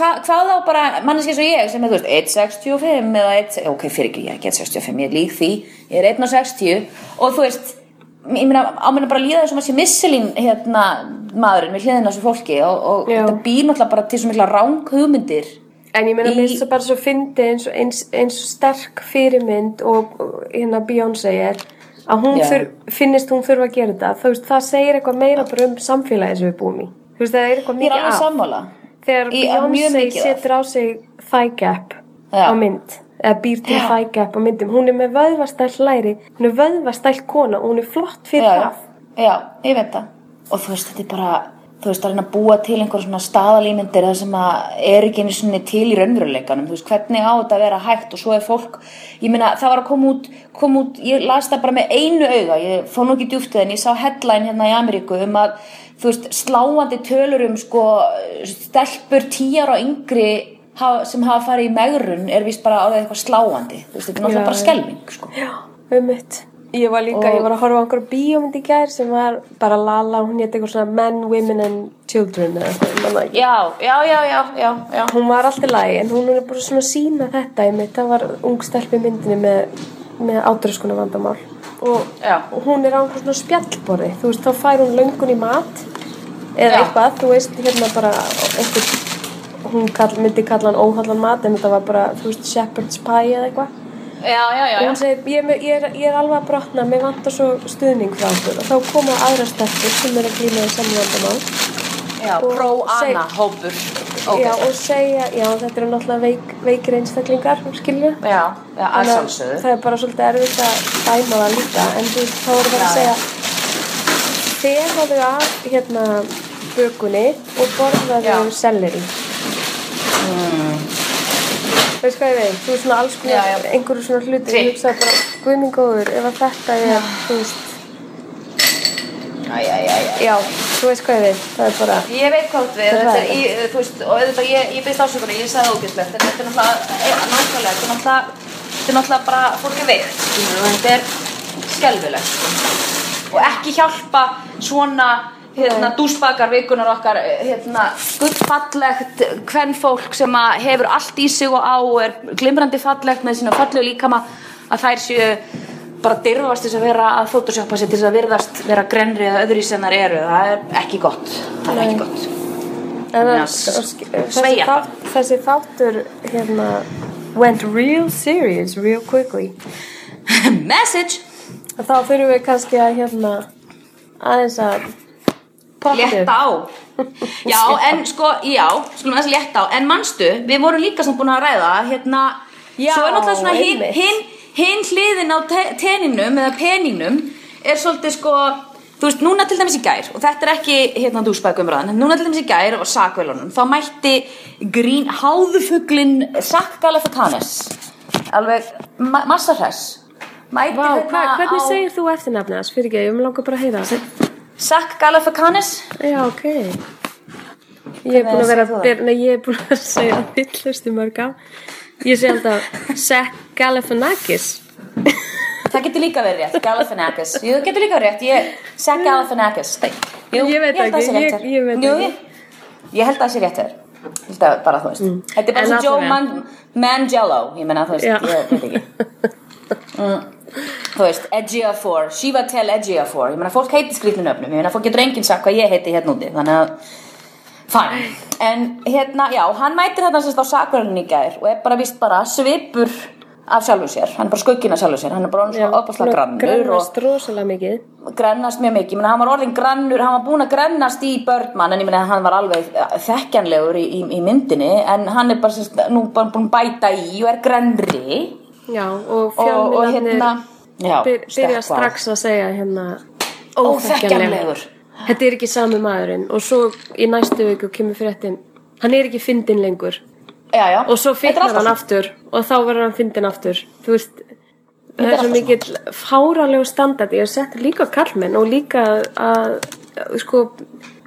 C: Hva, hvað á bara manneski eins og ég sem er, þú veist, 1,65 eða 1, ok, fyrir ekki, ég er ekki 1,65 ég er lík því, ég er 1,60 og þú veist, ég meina ámenna bara líða þessum að sé misselín hérna, maðurinn við hliðina á þessu fólki og, og
B: Já.
C: þetta býr náttúrulega bara til svo mikla ráng hugmyndir
B: En ég meina,
C: Í-
B: mér finnst það bara svo fyndi eins, og- eins, eins og sterk fyrirmynd og og hérna Beyoncé er að hún
C: Já.
B: fyr, finnist hún þurfa að gera þetta. Þú veist, það segir eitthvað meira bara um samfélagið sem við búum í. Þú veist, það er eitthvað
C: ég er
B: mikið
C: alveg
B: af.
C: sammála
B: Þegar
C: Í- að mjög
B: Beyoncé
C: mikið af.
B: setur á sig thigh gap
C: Já.
B: á mynd, eða býr til thigh gap á myndum, hún er með vöðvastæll læri, hún er vöðvastæll kona og hún er flott fyrir
C: já,
B: það.
C: já, ég veit það og þú veist, þetta er bara þú veist, að reyna að búa til einhver svona staðalímyndir það sem að er ekki einu svona til í raunveruleikanum, þú veist, hvernig á þetta að vera hægt og svo er fólk, ég meina, það var að koma út, koma út, ég las það bara með einu auga, ég fór nú ekki djúftið en ég sá headline hérna í Ameríku um að þú veist, sláandi tölur um sko, stelpur tíjar og yngri hafa- sem hafa farið í megrun er vist bara á það eitthvað sláandi þú veist, þetta er náttúrulega
B: Já,
C: bara
B: já.
C: skelming sko. já,
B: Ummitt. Ég var líka,
C: Og-
B: ég var að horfa á einhverja bíómynd í gær sem var bara Lala, hún hétt eitthvað svona Men, Women and Children eða eitthvað, ég manna ekki.
C: já, já, já, já, já.
B: Hún var alltaf lægi en hún er bara svona að sína þetta í mitt. Það var ung stelp í myndinni með, með átröskuna vandamál. Og
C: Já.
B: og hún er á einhvern svona spjallborði. Þú veist, þá fær hún löngun í mat eða
C: Já.
B: eitthvað. Þú veist, hérna bara einhver, hún kall, myndi kalla hann óhallan mat en þetta var bara, þú veist, shepherd's pie eða eitthvað.
C: já, já, já,
B: Og
C: já.
B: hún segir, ég, er með- ég, er, ég er alveg að brotna, mér vantar svo stuðning frá okkur. Og þá koma aðra stelpur sem eru að glýna í saman vandamál.
C: já
B: og
C: Pro-Anna
B: seg-
C: hópur okay.
B: Já, og segja, já, þetta eru náttúrulega veik, veikir einstaklingar, skilju.
C: já, já, að
B: Þannig
C: sjálfsögðu
B: það er bara svolítið erfitt að dæma það líka en þú veist, þá voru bara að
C: Já, já.
B: segja þegaðu af hérna bökunni og borðaðu
C: Já. Hmm.
B: selleri mm. veist hvað ég veit þú veist svona alls konar,
C: Já, já.
B: einhverju svona hluti
C: Trikk.
B: ég hugsaði bara, guðmingóður, ef að þetta er þú veist,
C: Æ, æ, æ, æ.
B: já, þú veist hvað ég veit það er bara,
C: ég veit hvað þú átt við
B: Það
C: þetta er,
B: er-
C: í, þú veist, og auðvitað ég, ég byrst ásökunni, ég sagði ógjöflegt en þetta er náttúrulega, e, nákvæmlega þetta er náttúrulega, þetta er náttúrulega bara fólk er veikt skilur, og þetta er skelfilegt sko. og ekki hjálpa svona hérna, dúsbakar vikunar okkar hérna, gullfallegt kvennfólk sem að hefur allt í sig og á og er glimrandi fallegt með sína fallegu líkama að þær séu bara dyrfast þess að vera að fótosjópa sér til þess að virðast vera grenri eða öðru í sem þær eru það er ekki gott, það
B: Nei.
C: er ekki gott.
B: en
C: Já,
B: það,
C: s-
B: og sk- þessi,
C: sveigja
B: þátt, þessi þáttur hérna went real serious real quickly
C: Message
B: Og þá þurfum við kannski að hérna aðeins að poppa upp.
C: Létt á Já, en sko, já, skulum þess að létta á En manstu, við vorum líka samt búin að ræða Hérna,
B: Já,
C: svo er náttúrulega svona Hinn
B: einmitt.
C: hin, hin hliðin á te- teninum Eða peninum Er svolítið sko, þú veist, núna til dæmis í gær Og þetta er ekki, hérna, dúsbækumræðan Núna til dæmis í gær og sakvelunum Þá mætti grín háðufuglin Sakgalafatanes Alveg ma massa hress Mætti
B: Vá, hva,
C: hérna
B: hvernig
C: á
B: segir þú eftirnafni hans? Fyrir ekki, ég vil langa bara að heyra það.
C: Sakgalafatanes
B: Já, ok. Ég er búin að vera,
C: segir þú það?
B: ber, nei, ég er búin að segja villustu mörg á. Ég segi alltaf Zach Galifianakis.
C: Það getur líka verið rétt, Galifianakis. Jú, það getur líka verið rétt, ég seg Galifianakis. Jú,
B: Ég veit
C: held að
B: ekki,
C: sé rétt
B: ég-
C: þér.
B: ég veit
C: Jú,
B: ekki.
C: ég, ég held að það sé rétt þér. Ég held að bara, þú veist. Þetta er
B: Mm. En
C: bara svo Joe
B: allavega.
C: Man, Mangello, ég menna, þú veist,
B: Já.
C: ég veit ekki. Mm. þú veist, Edgeafor, Shiva Tel Edgeafor, ég meina fólk heitir skrýtnum öfnum, ég meina fólk getur enginn sagt hvað ég heiti hérna úti, þannig að fæn, en hérna, já, hann mætir hérna sérst á sakurinn í gær og er bara vist bara svipur af sjálfum sér, hann er bara skugginn af sjálfum sér, hann er bara
B: Já,
C: svona opaslega
B: hann
C: grannur og
B: grannast rosalega mikið
C: grennast mjög mikið, ég meina hann var orðin grannur hann var búinn að grennast í börnmann en ég meina hann var alveg eh, þekkjanlegur í, í, í myndinni en hann er bara sérst, nú bara búinn að bæta í og er grennri
B: Já, og
C: og, og
B: fjölmiðlarnir
C: hérna já,
B: byr, byrja
C: stökkva.
B: strax að segja hérna
C: Óþekkjanlegur.
B: Þetta er ekki sami maðurinn og svo í næstu viku kemur fréttin hann er ekki fyndin lengur
C: já, já.
B: og svo
C: Þetta er
B: fyrnar
C: alltaf
B: hann
C: svona.
B: aftur og þá verður hann fyndin aftur þú veist það
C: er
B: er svo
C: alltaf
B: mikill fáralegu standard ég hef sett líka á kallmenn og líka að sko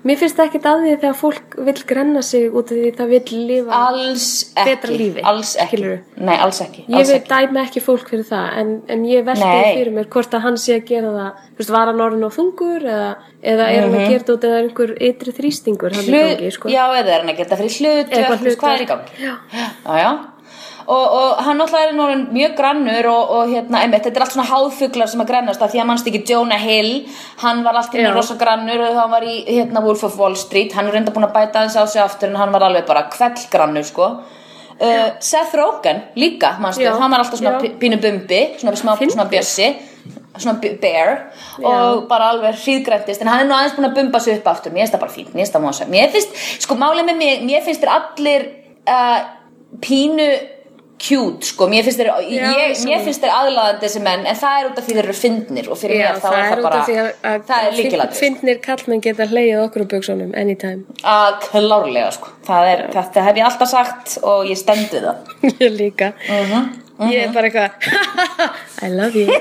B: mér finnst það ekkert að því þegar fólk vill grenna sig út af því það vill lifa
C: alls ekki
B: betra lífi,
C: alls ekki,
B: skilurðu?
C: nei alls ekki
B: Ég
C: alls
B: veit
C: ekki.
B: dæmi ekki fólk fyrir það en, en ég veldi
C: Nei.
B: fyrir mér hvort að hann sé að gera það þú veist, var hann orðin á þungur eða, eða er hann að gera það út eða er einhver ytri þrýstingur hann í gangi sko.
C: já, eða er hann að geta fyrir hlut
B: Eitthvað
C: hvað er í
B: hlutverk.
C: gangi já. Já, Og, og hann náttúrulega er núna mjög grannur og, og hérna, einmitt, þetta er allt svona háðfuglar sem að grannast að því að mannst ekki Jonah Hill hann var alltaf mjög
B: Já.
C: rosa grannur og hann var í hérna Wolf of Wall Street hann er reynda búin að bæta aðeins á sig aftur en hann var alveg bara kvellgrannur sko uh, Seth Rogen líka, mannstu,
B: Já.
C: hann var alltaf svona
B: Já.
C: pi- pínu bumbi, svona, smá,
B: Fyndið.
C: svona bjössi svona b- bear og bara alveg hríðgræntist en hann er nú aðeins búin að bumba sig upp aftur mér finnst það bara fínt, mér finnst það mósa mér finnst, sko málið með mig, mér finnst þér allir uh, pínu cute, sko, mér finnst þér
B: Já,
C: ég,
B: sammála.
C: mér finnst þér aðlaðandi þessi menn en það er út af því þeir eru fyndnir og fyrir mér þá er það
B: út
C: bara
B: af því að, að
C: það er
B: fyn-
C: líkilatrið
B: fyndnir kallmenn geta hleyið okkur úr buksónum anytime
C: að klárlega, sko, það er þetta hef ég alltaf sagt og ég stend við það
B: ég líka
C: Mhm.
B: ég er bara eitthvað I love you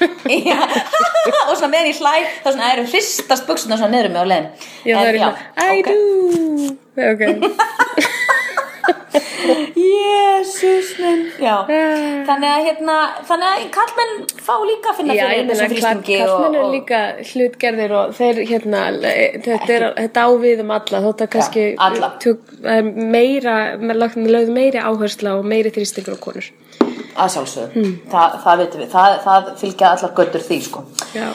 C: Já, og svona meðan ég hlæ þá svona erum hristast buksuna svona niður um mig á leiðin
B: já, það er
C: já,
B: eitthvað I
C: ok.
B: do ok
C: Jésus minn Já,
B: Ah.
C: þannig að hérna þannig að kallmenn fá líka að finna
B: Já, ég
C: fyrir
B: meina,
C: þessum þrýstingi
B: kallmenn er líka hlutgerðir og þeir, hérna, le- þetta, er, þetta ávið um alla, þótt að kannski
C: alla.
B: tök, eh, meira, með lagt lögð meiri áhersla og meiri þrýstingur á konur.
C: að sjálfsögum,
B: Hmm.
C: það, það veitum við það, það fylgja allar göttur því sko
B: Já.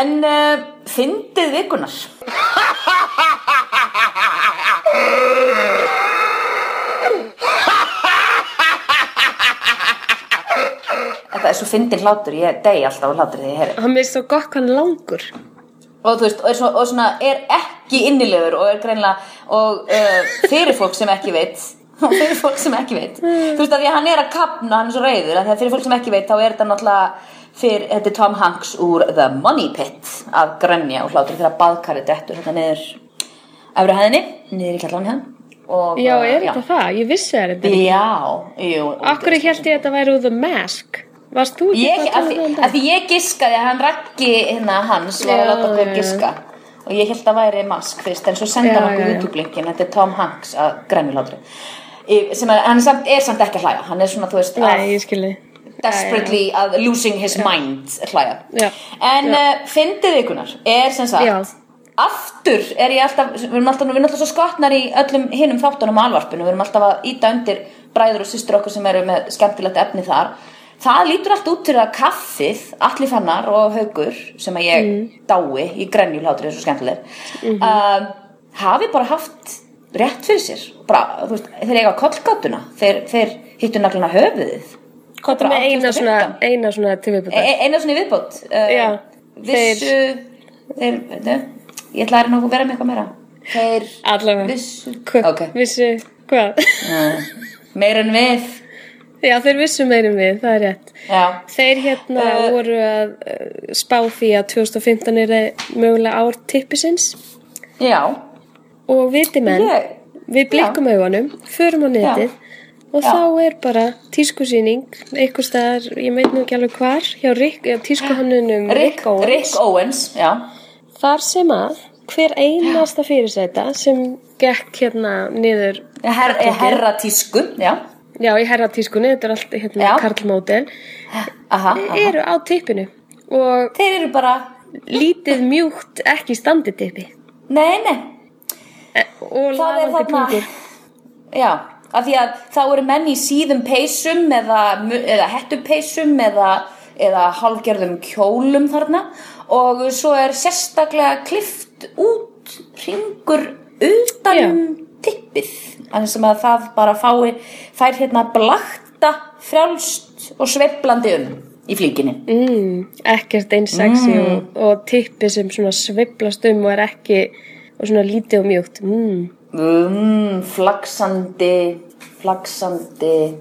C: en uh, fyndið vikunar Þetta er svo fyndin hlátur, ég degi alltaf á hlátur þegar ég heyri
B: Hann er svo gott hvað hann er langur.
C: og þú veist, og er, svona, og svona, er ekki innilegur og er greinlega og uh, fyrir fólk sem ekki veit og fyrir fólk sem ekki veit þú veist að því að hann er að kapna, hann er svo reyður að því að fyrir fólk sem ekki veit, þá er þetta náttúrulega fyrir, þetta er Tom Hanks úr The Money Pit að grænja og hlátur þegar baðkarið dettur þetta niður efri hæðinni, niður í kallan hann og,
B: Já,
C: uh,
B: er þetta það? Ég vissi það er þetta.
C: Já, jú
B: Akkur ég held ég að þetta væri úr The Mask. Varst þú ekki
C: ég, að,
B: tala
C: því,
B: um
C: að
B: þetta?
C: því ég giskaði að hann rakki hérna hans var að
B: Já,
C: láta okkur
B: já, já.
C: giska og ég held að væri mask fyrst en svo senda hann
B: Já,
C: okkur
B: já, já.
C: YouTube-linkin þetta er Tom Hanks að grænulátri sem er, hann er samt, er samt ekki að hlæja hann er svona, þú veist,
B: Nei,
C: að
B: ég skilji.
C: desperately að losing his mind hlæja
B: Já.
C: en
B: Já.
C: uh, fyndið ikunar er sem sagt
B: Já.
C: aftur er ég alltaf við erum alltaf, við erum alltaf svo skotnar í öllum hinum þáttunum og alvarpinu, við erum alltaf að íta undir bræður og systur okkur sem eru með skemmtilegt efni þar það lítur allt út til að kaffið allir fannar og haugur sem að ég
B: Mm.
C: dái í grenjulhátri þessu skemmtileg mm
B: Mhm.
C: hafi bara haft rétt fyrir sér bara, þú veist, þeir eiga kollgátuna þeir, þeir hittu naglina höfuðið Kollra
B: Með eina
C: 8.15.
B: svona, eina svona tilviðbúta.
C: E- eina svona í viðbót uh,
B: Já,
C: vissu þeir, þeir, ég ætla að reyna að vera með eitthvað meira þeir
B: Allavega.
C: vissu
B: Hva,
C: ok.
B: Vissu, hvað?
C: meira en við
B: Já, þeir vissu meirum við, það er rétt.
C: já,
B: Þeir hérna
C: Eh,
B: voru að eh, spá því að 2015 er mögulega ár tippisins
C: já.
B: og viti menn,
C: Ég-
B: við blikkum augunum, förum á netið og
C: Já.
B: þá er bara tískusýning, einhver staðar, ég meit nú ekki alveg hvar, hjá Rick, eh, já, tískuhannunum
C: Rick, Rick Owens, já.
B: þar sem að hver einasta fyrirsæta sem gekk hérna niður
C: Her, Eh, herra tísku já.
B: Já, í herratískunni, þetta er allt hérna
C: Já.
B: karlmódel,
C: Aha, aha.
B: eru á tippinu og
C: þeir eru bara
B: lítið mjúkt ekki standið tippi.
C: nei, nei,
B: og
C: það er
B: lafandi
C: þarna
B: pungur
C: já, af því að þá eru menn í síðum peysum eða, mu- eða hettupeysum eða eða hálgerðum kjólum þarna og svo er sérstaklega klift út ringur utan um tippið þannig sem að það bara fái fær hérna blakta frjálst og sveiflandi um í flíkinni
B: ekkert eins sexy
C: Mm.
B: og, og tippi sem svona sveiflast um og er ekki og svona lítið og mjúkt mm.
C: mm, flaksandi flaksandi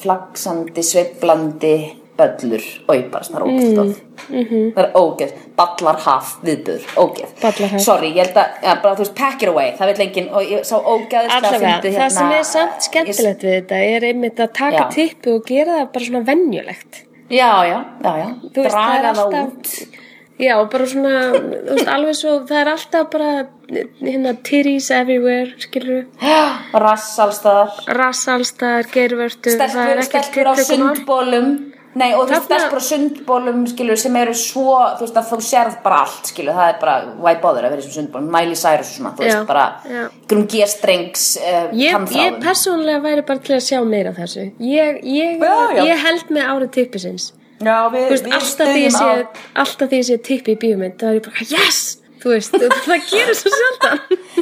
C: flaksandi, sveiflandi böllur, oi bara svona rókistóð mm
B: mhm.
C: -hmm. það er ógeð ballarhaf viðbur, ógeð
B: Ballarhaf.
C: sorry, ég held að, ja, bara, þú veist, pack it away það vil enginn, og ég sá ógeðslega
B: allavega,
C: fyndið hérna
B: það sem er samt skemmtilegt við þetta er einmitt að taka
C: Já.
B: tippi og gera það bara svona venjulegt
C: ég, já, já, já, já,
B: Þú veist, það er
C: draga það
B: alltaf-
C: út
B: Já, bara svona, þú veist, alveg svo, það er alltaf bara, hérna, titties everywhere, skilur við,
C: rass allstaðar
B: rass allstaðar, geirvörtu, það
C: stelpur,
B: er ekkert
C: stelpur á
B: tiltökumál.
C: sundbólum Nei, og þú veist,
B: Þarna-
C: stelpur á sundbólum skilur, sem eru svo, þú veist, að þú sérð bara allt, skilur, það er bara, why bother að vera í þessum sundbólum, Miley Cyrus og svona, þú
B: Já,
C: veist, bara
B: já.
C: grum g-strengs uh,
B: Ég, ég persónulega væri bara til að sjá meira af þessu. Ég, ég,
C: Já, já.
B: ég held með árið tippisins.
C: Já, við,
B: Þú veist, alltaf því ég sé, alltaf því ég sé tippi í bíómynd, það er ég bara, yes! Þú veist, og það gerir svo sjaldan.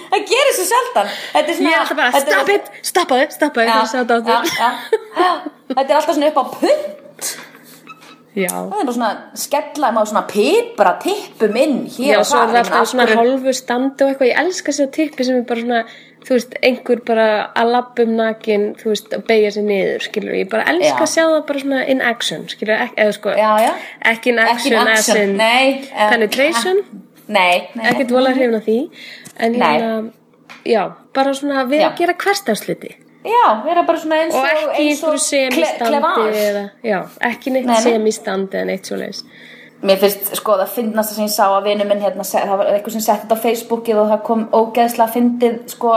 C: Það gerir svo sjaldan Þetta er
B: Ég
C: svona
B: er alltaf bara,
C: þetta er-
B: stop it, stoppaði, stoppaði,
C: Já,
B: það er sjátt á
C: já,
B: því.
C: já. Þetta er alltaf svona upp á punt
B: Já.
C: Það er bara svona, skella, maður svona pipra tippum inn hér
B: Já,
C: og
B: svo er það
C: þar, ég meina,
B: alltaf
C: af
B: svona
C: hverju-
B: hálfu standi og eitthvað, ég elska sér tippi sem er bara svona, þú veist, einhver bara að labba um nakin, þú veist, að beigja sér niður, skilur, ég bara elska
C: Já.
B: að sjá það bara svona in action, skilur, ek, eða sko,
C: Já, já.
B: ekki in action,
C: Ekki in
B: as
C: action, nei, eh,
B: penetration,
C: Nei, nei, nei.
B: ekkert vola hrifin af því, en
C: Nei.
B: hérna, já, bara svona við
C: Já.
B: að gera hverstafsluti
C: Já, vera bara svona eins og,
B: og ekki í
C: eins og
B: einhverju sem í
C: kle-
B: standi
C: klefage.
B: eða, já, ekki neitt
C: Nei, nei.
B: sem í standi eða neitt svo leiðis.
C: Mér finnst sko það finnast það sem ég sá að vinur minn hérna, se- það var eitthvað sem setti þetta á Facebookið og það kom ógeðslega fyndið sko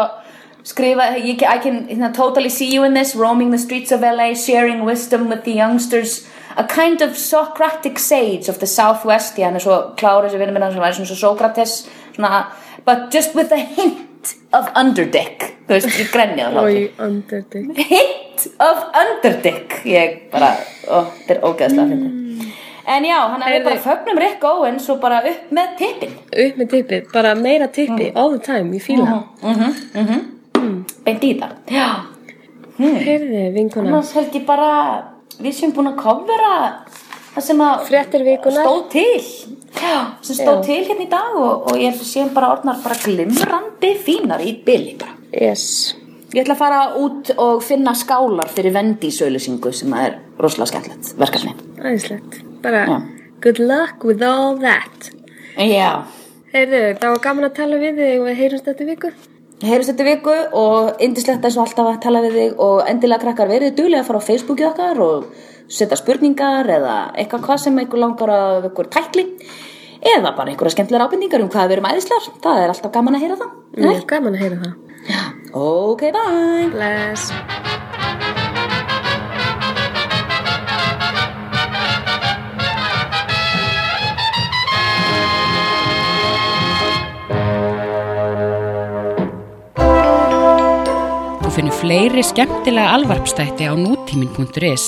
C: skrifa, ég, I can hérna, totally see you in this, roaming the streets of LA, sharing wisdom with the youngsters a kind of Socratic sage of the Southwest, ég hann er svo klárið þessi vinur minn hann sem væri svona svo Sókrates svona, but just with a hint of underdick, þú veist, ég grenni á það
B: Oj, underdog.
C: hint of underdick ég bara, ó, þetta er ógeðslega mm. en já, hann er
B: Heyrðu.
C: bara fögnum Rick Owens og bara upp með tippin
B: upp með tippið, bara meira tippi
C: Mm.
B: all the time, ég fíla það.
C: beint í það já,
B: Heyrðu, vinkuna,
C: Mm. annars held ég bara við sem búin að kofvera það sem að
B: fréttir vikunar
C: stóð til já, sem stóð til hérna í dag og, og ég held að séum bara orðnar bara glimrandi fínar í bili bara
B: yes.
C: Ég ætla að fara út og finna skálar fyrir vendísauðlýsingu sem að er rosalega skemmtilegt verkefni.
B: æðislegt, bara
C: Já.
B: good luck with all that
C: Já.
B: Heyrðu, það var gaman að tala við þig og við heyrumst þetta viku
C: Heyrjumst þetta viku og indislegt eins og alltaf að tala við þig og endilega krakkar verið duglega að fara á Facebookið okkar og setja spurningar eða eitthvað hvað sem einhver langar að ykkur tækli eða bara einhverja skemmtilega ábendingar um hvað við erum æðislar. Það er alltaf gaman að heyra það.
B: mm. gaman að heyra það
C: Ok, bye!
B: bless
A: Þú finnir fleiri skemmtilega alvarpstætti á nútímin.is.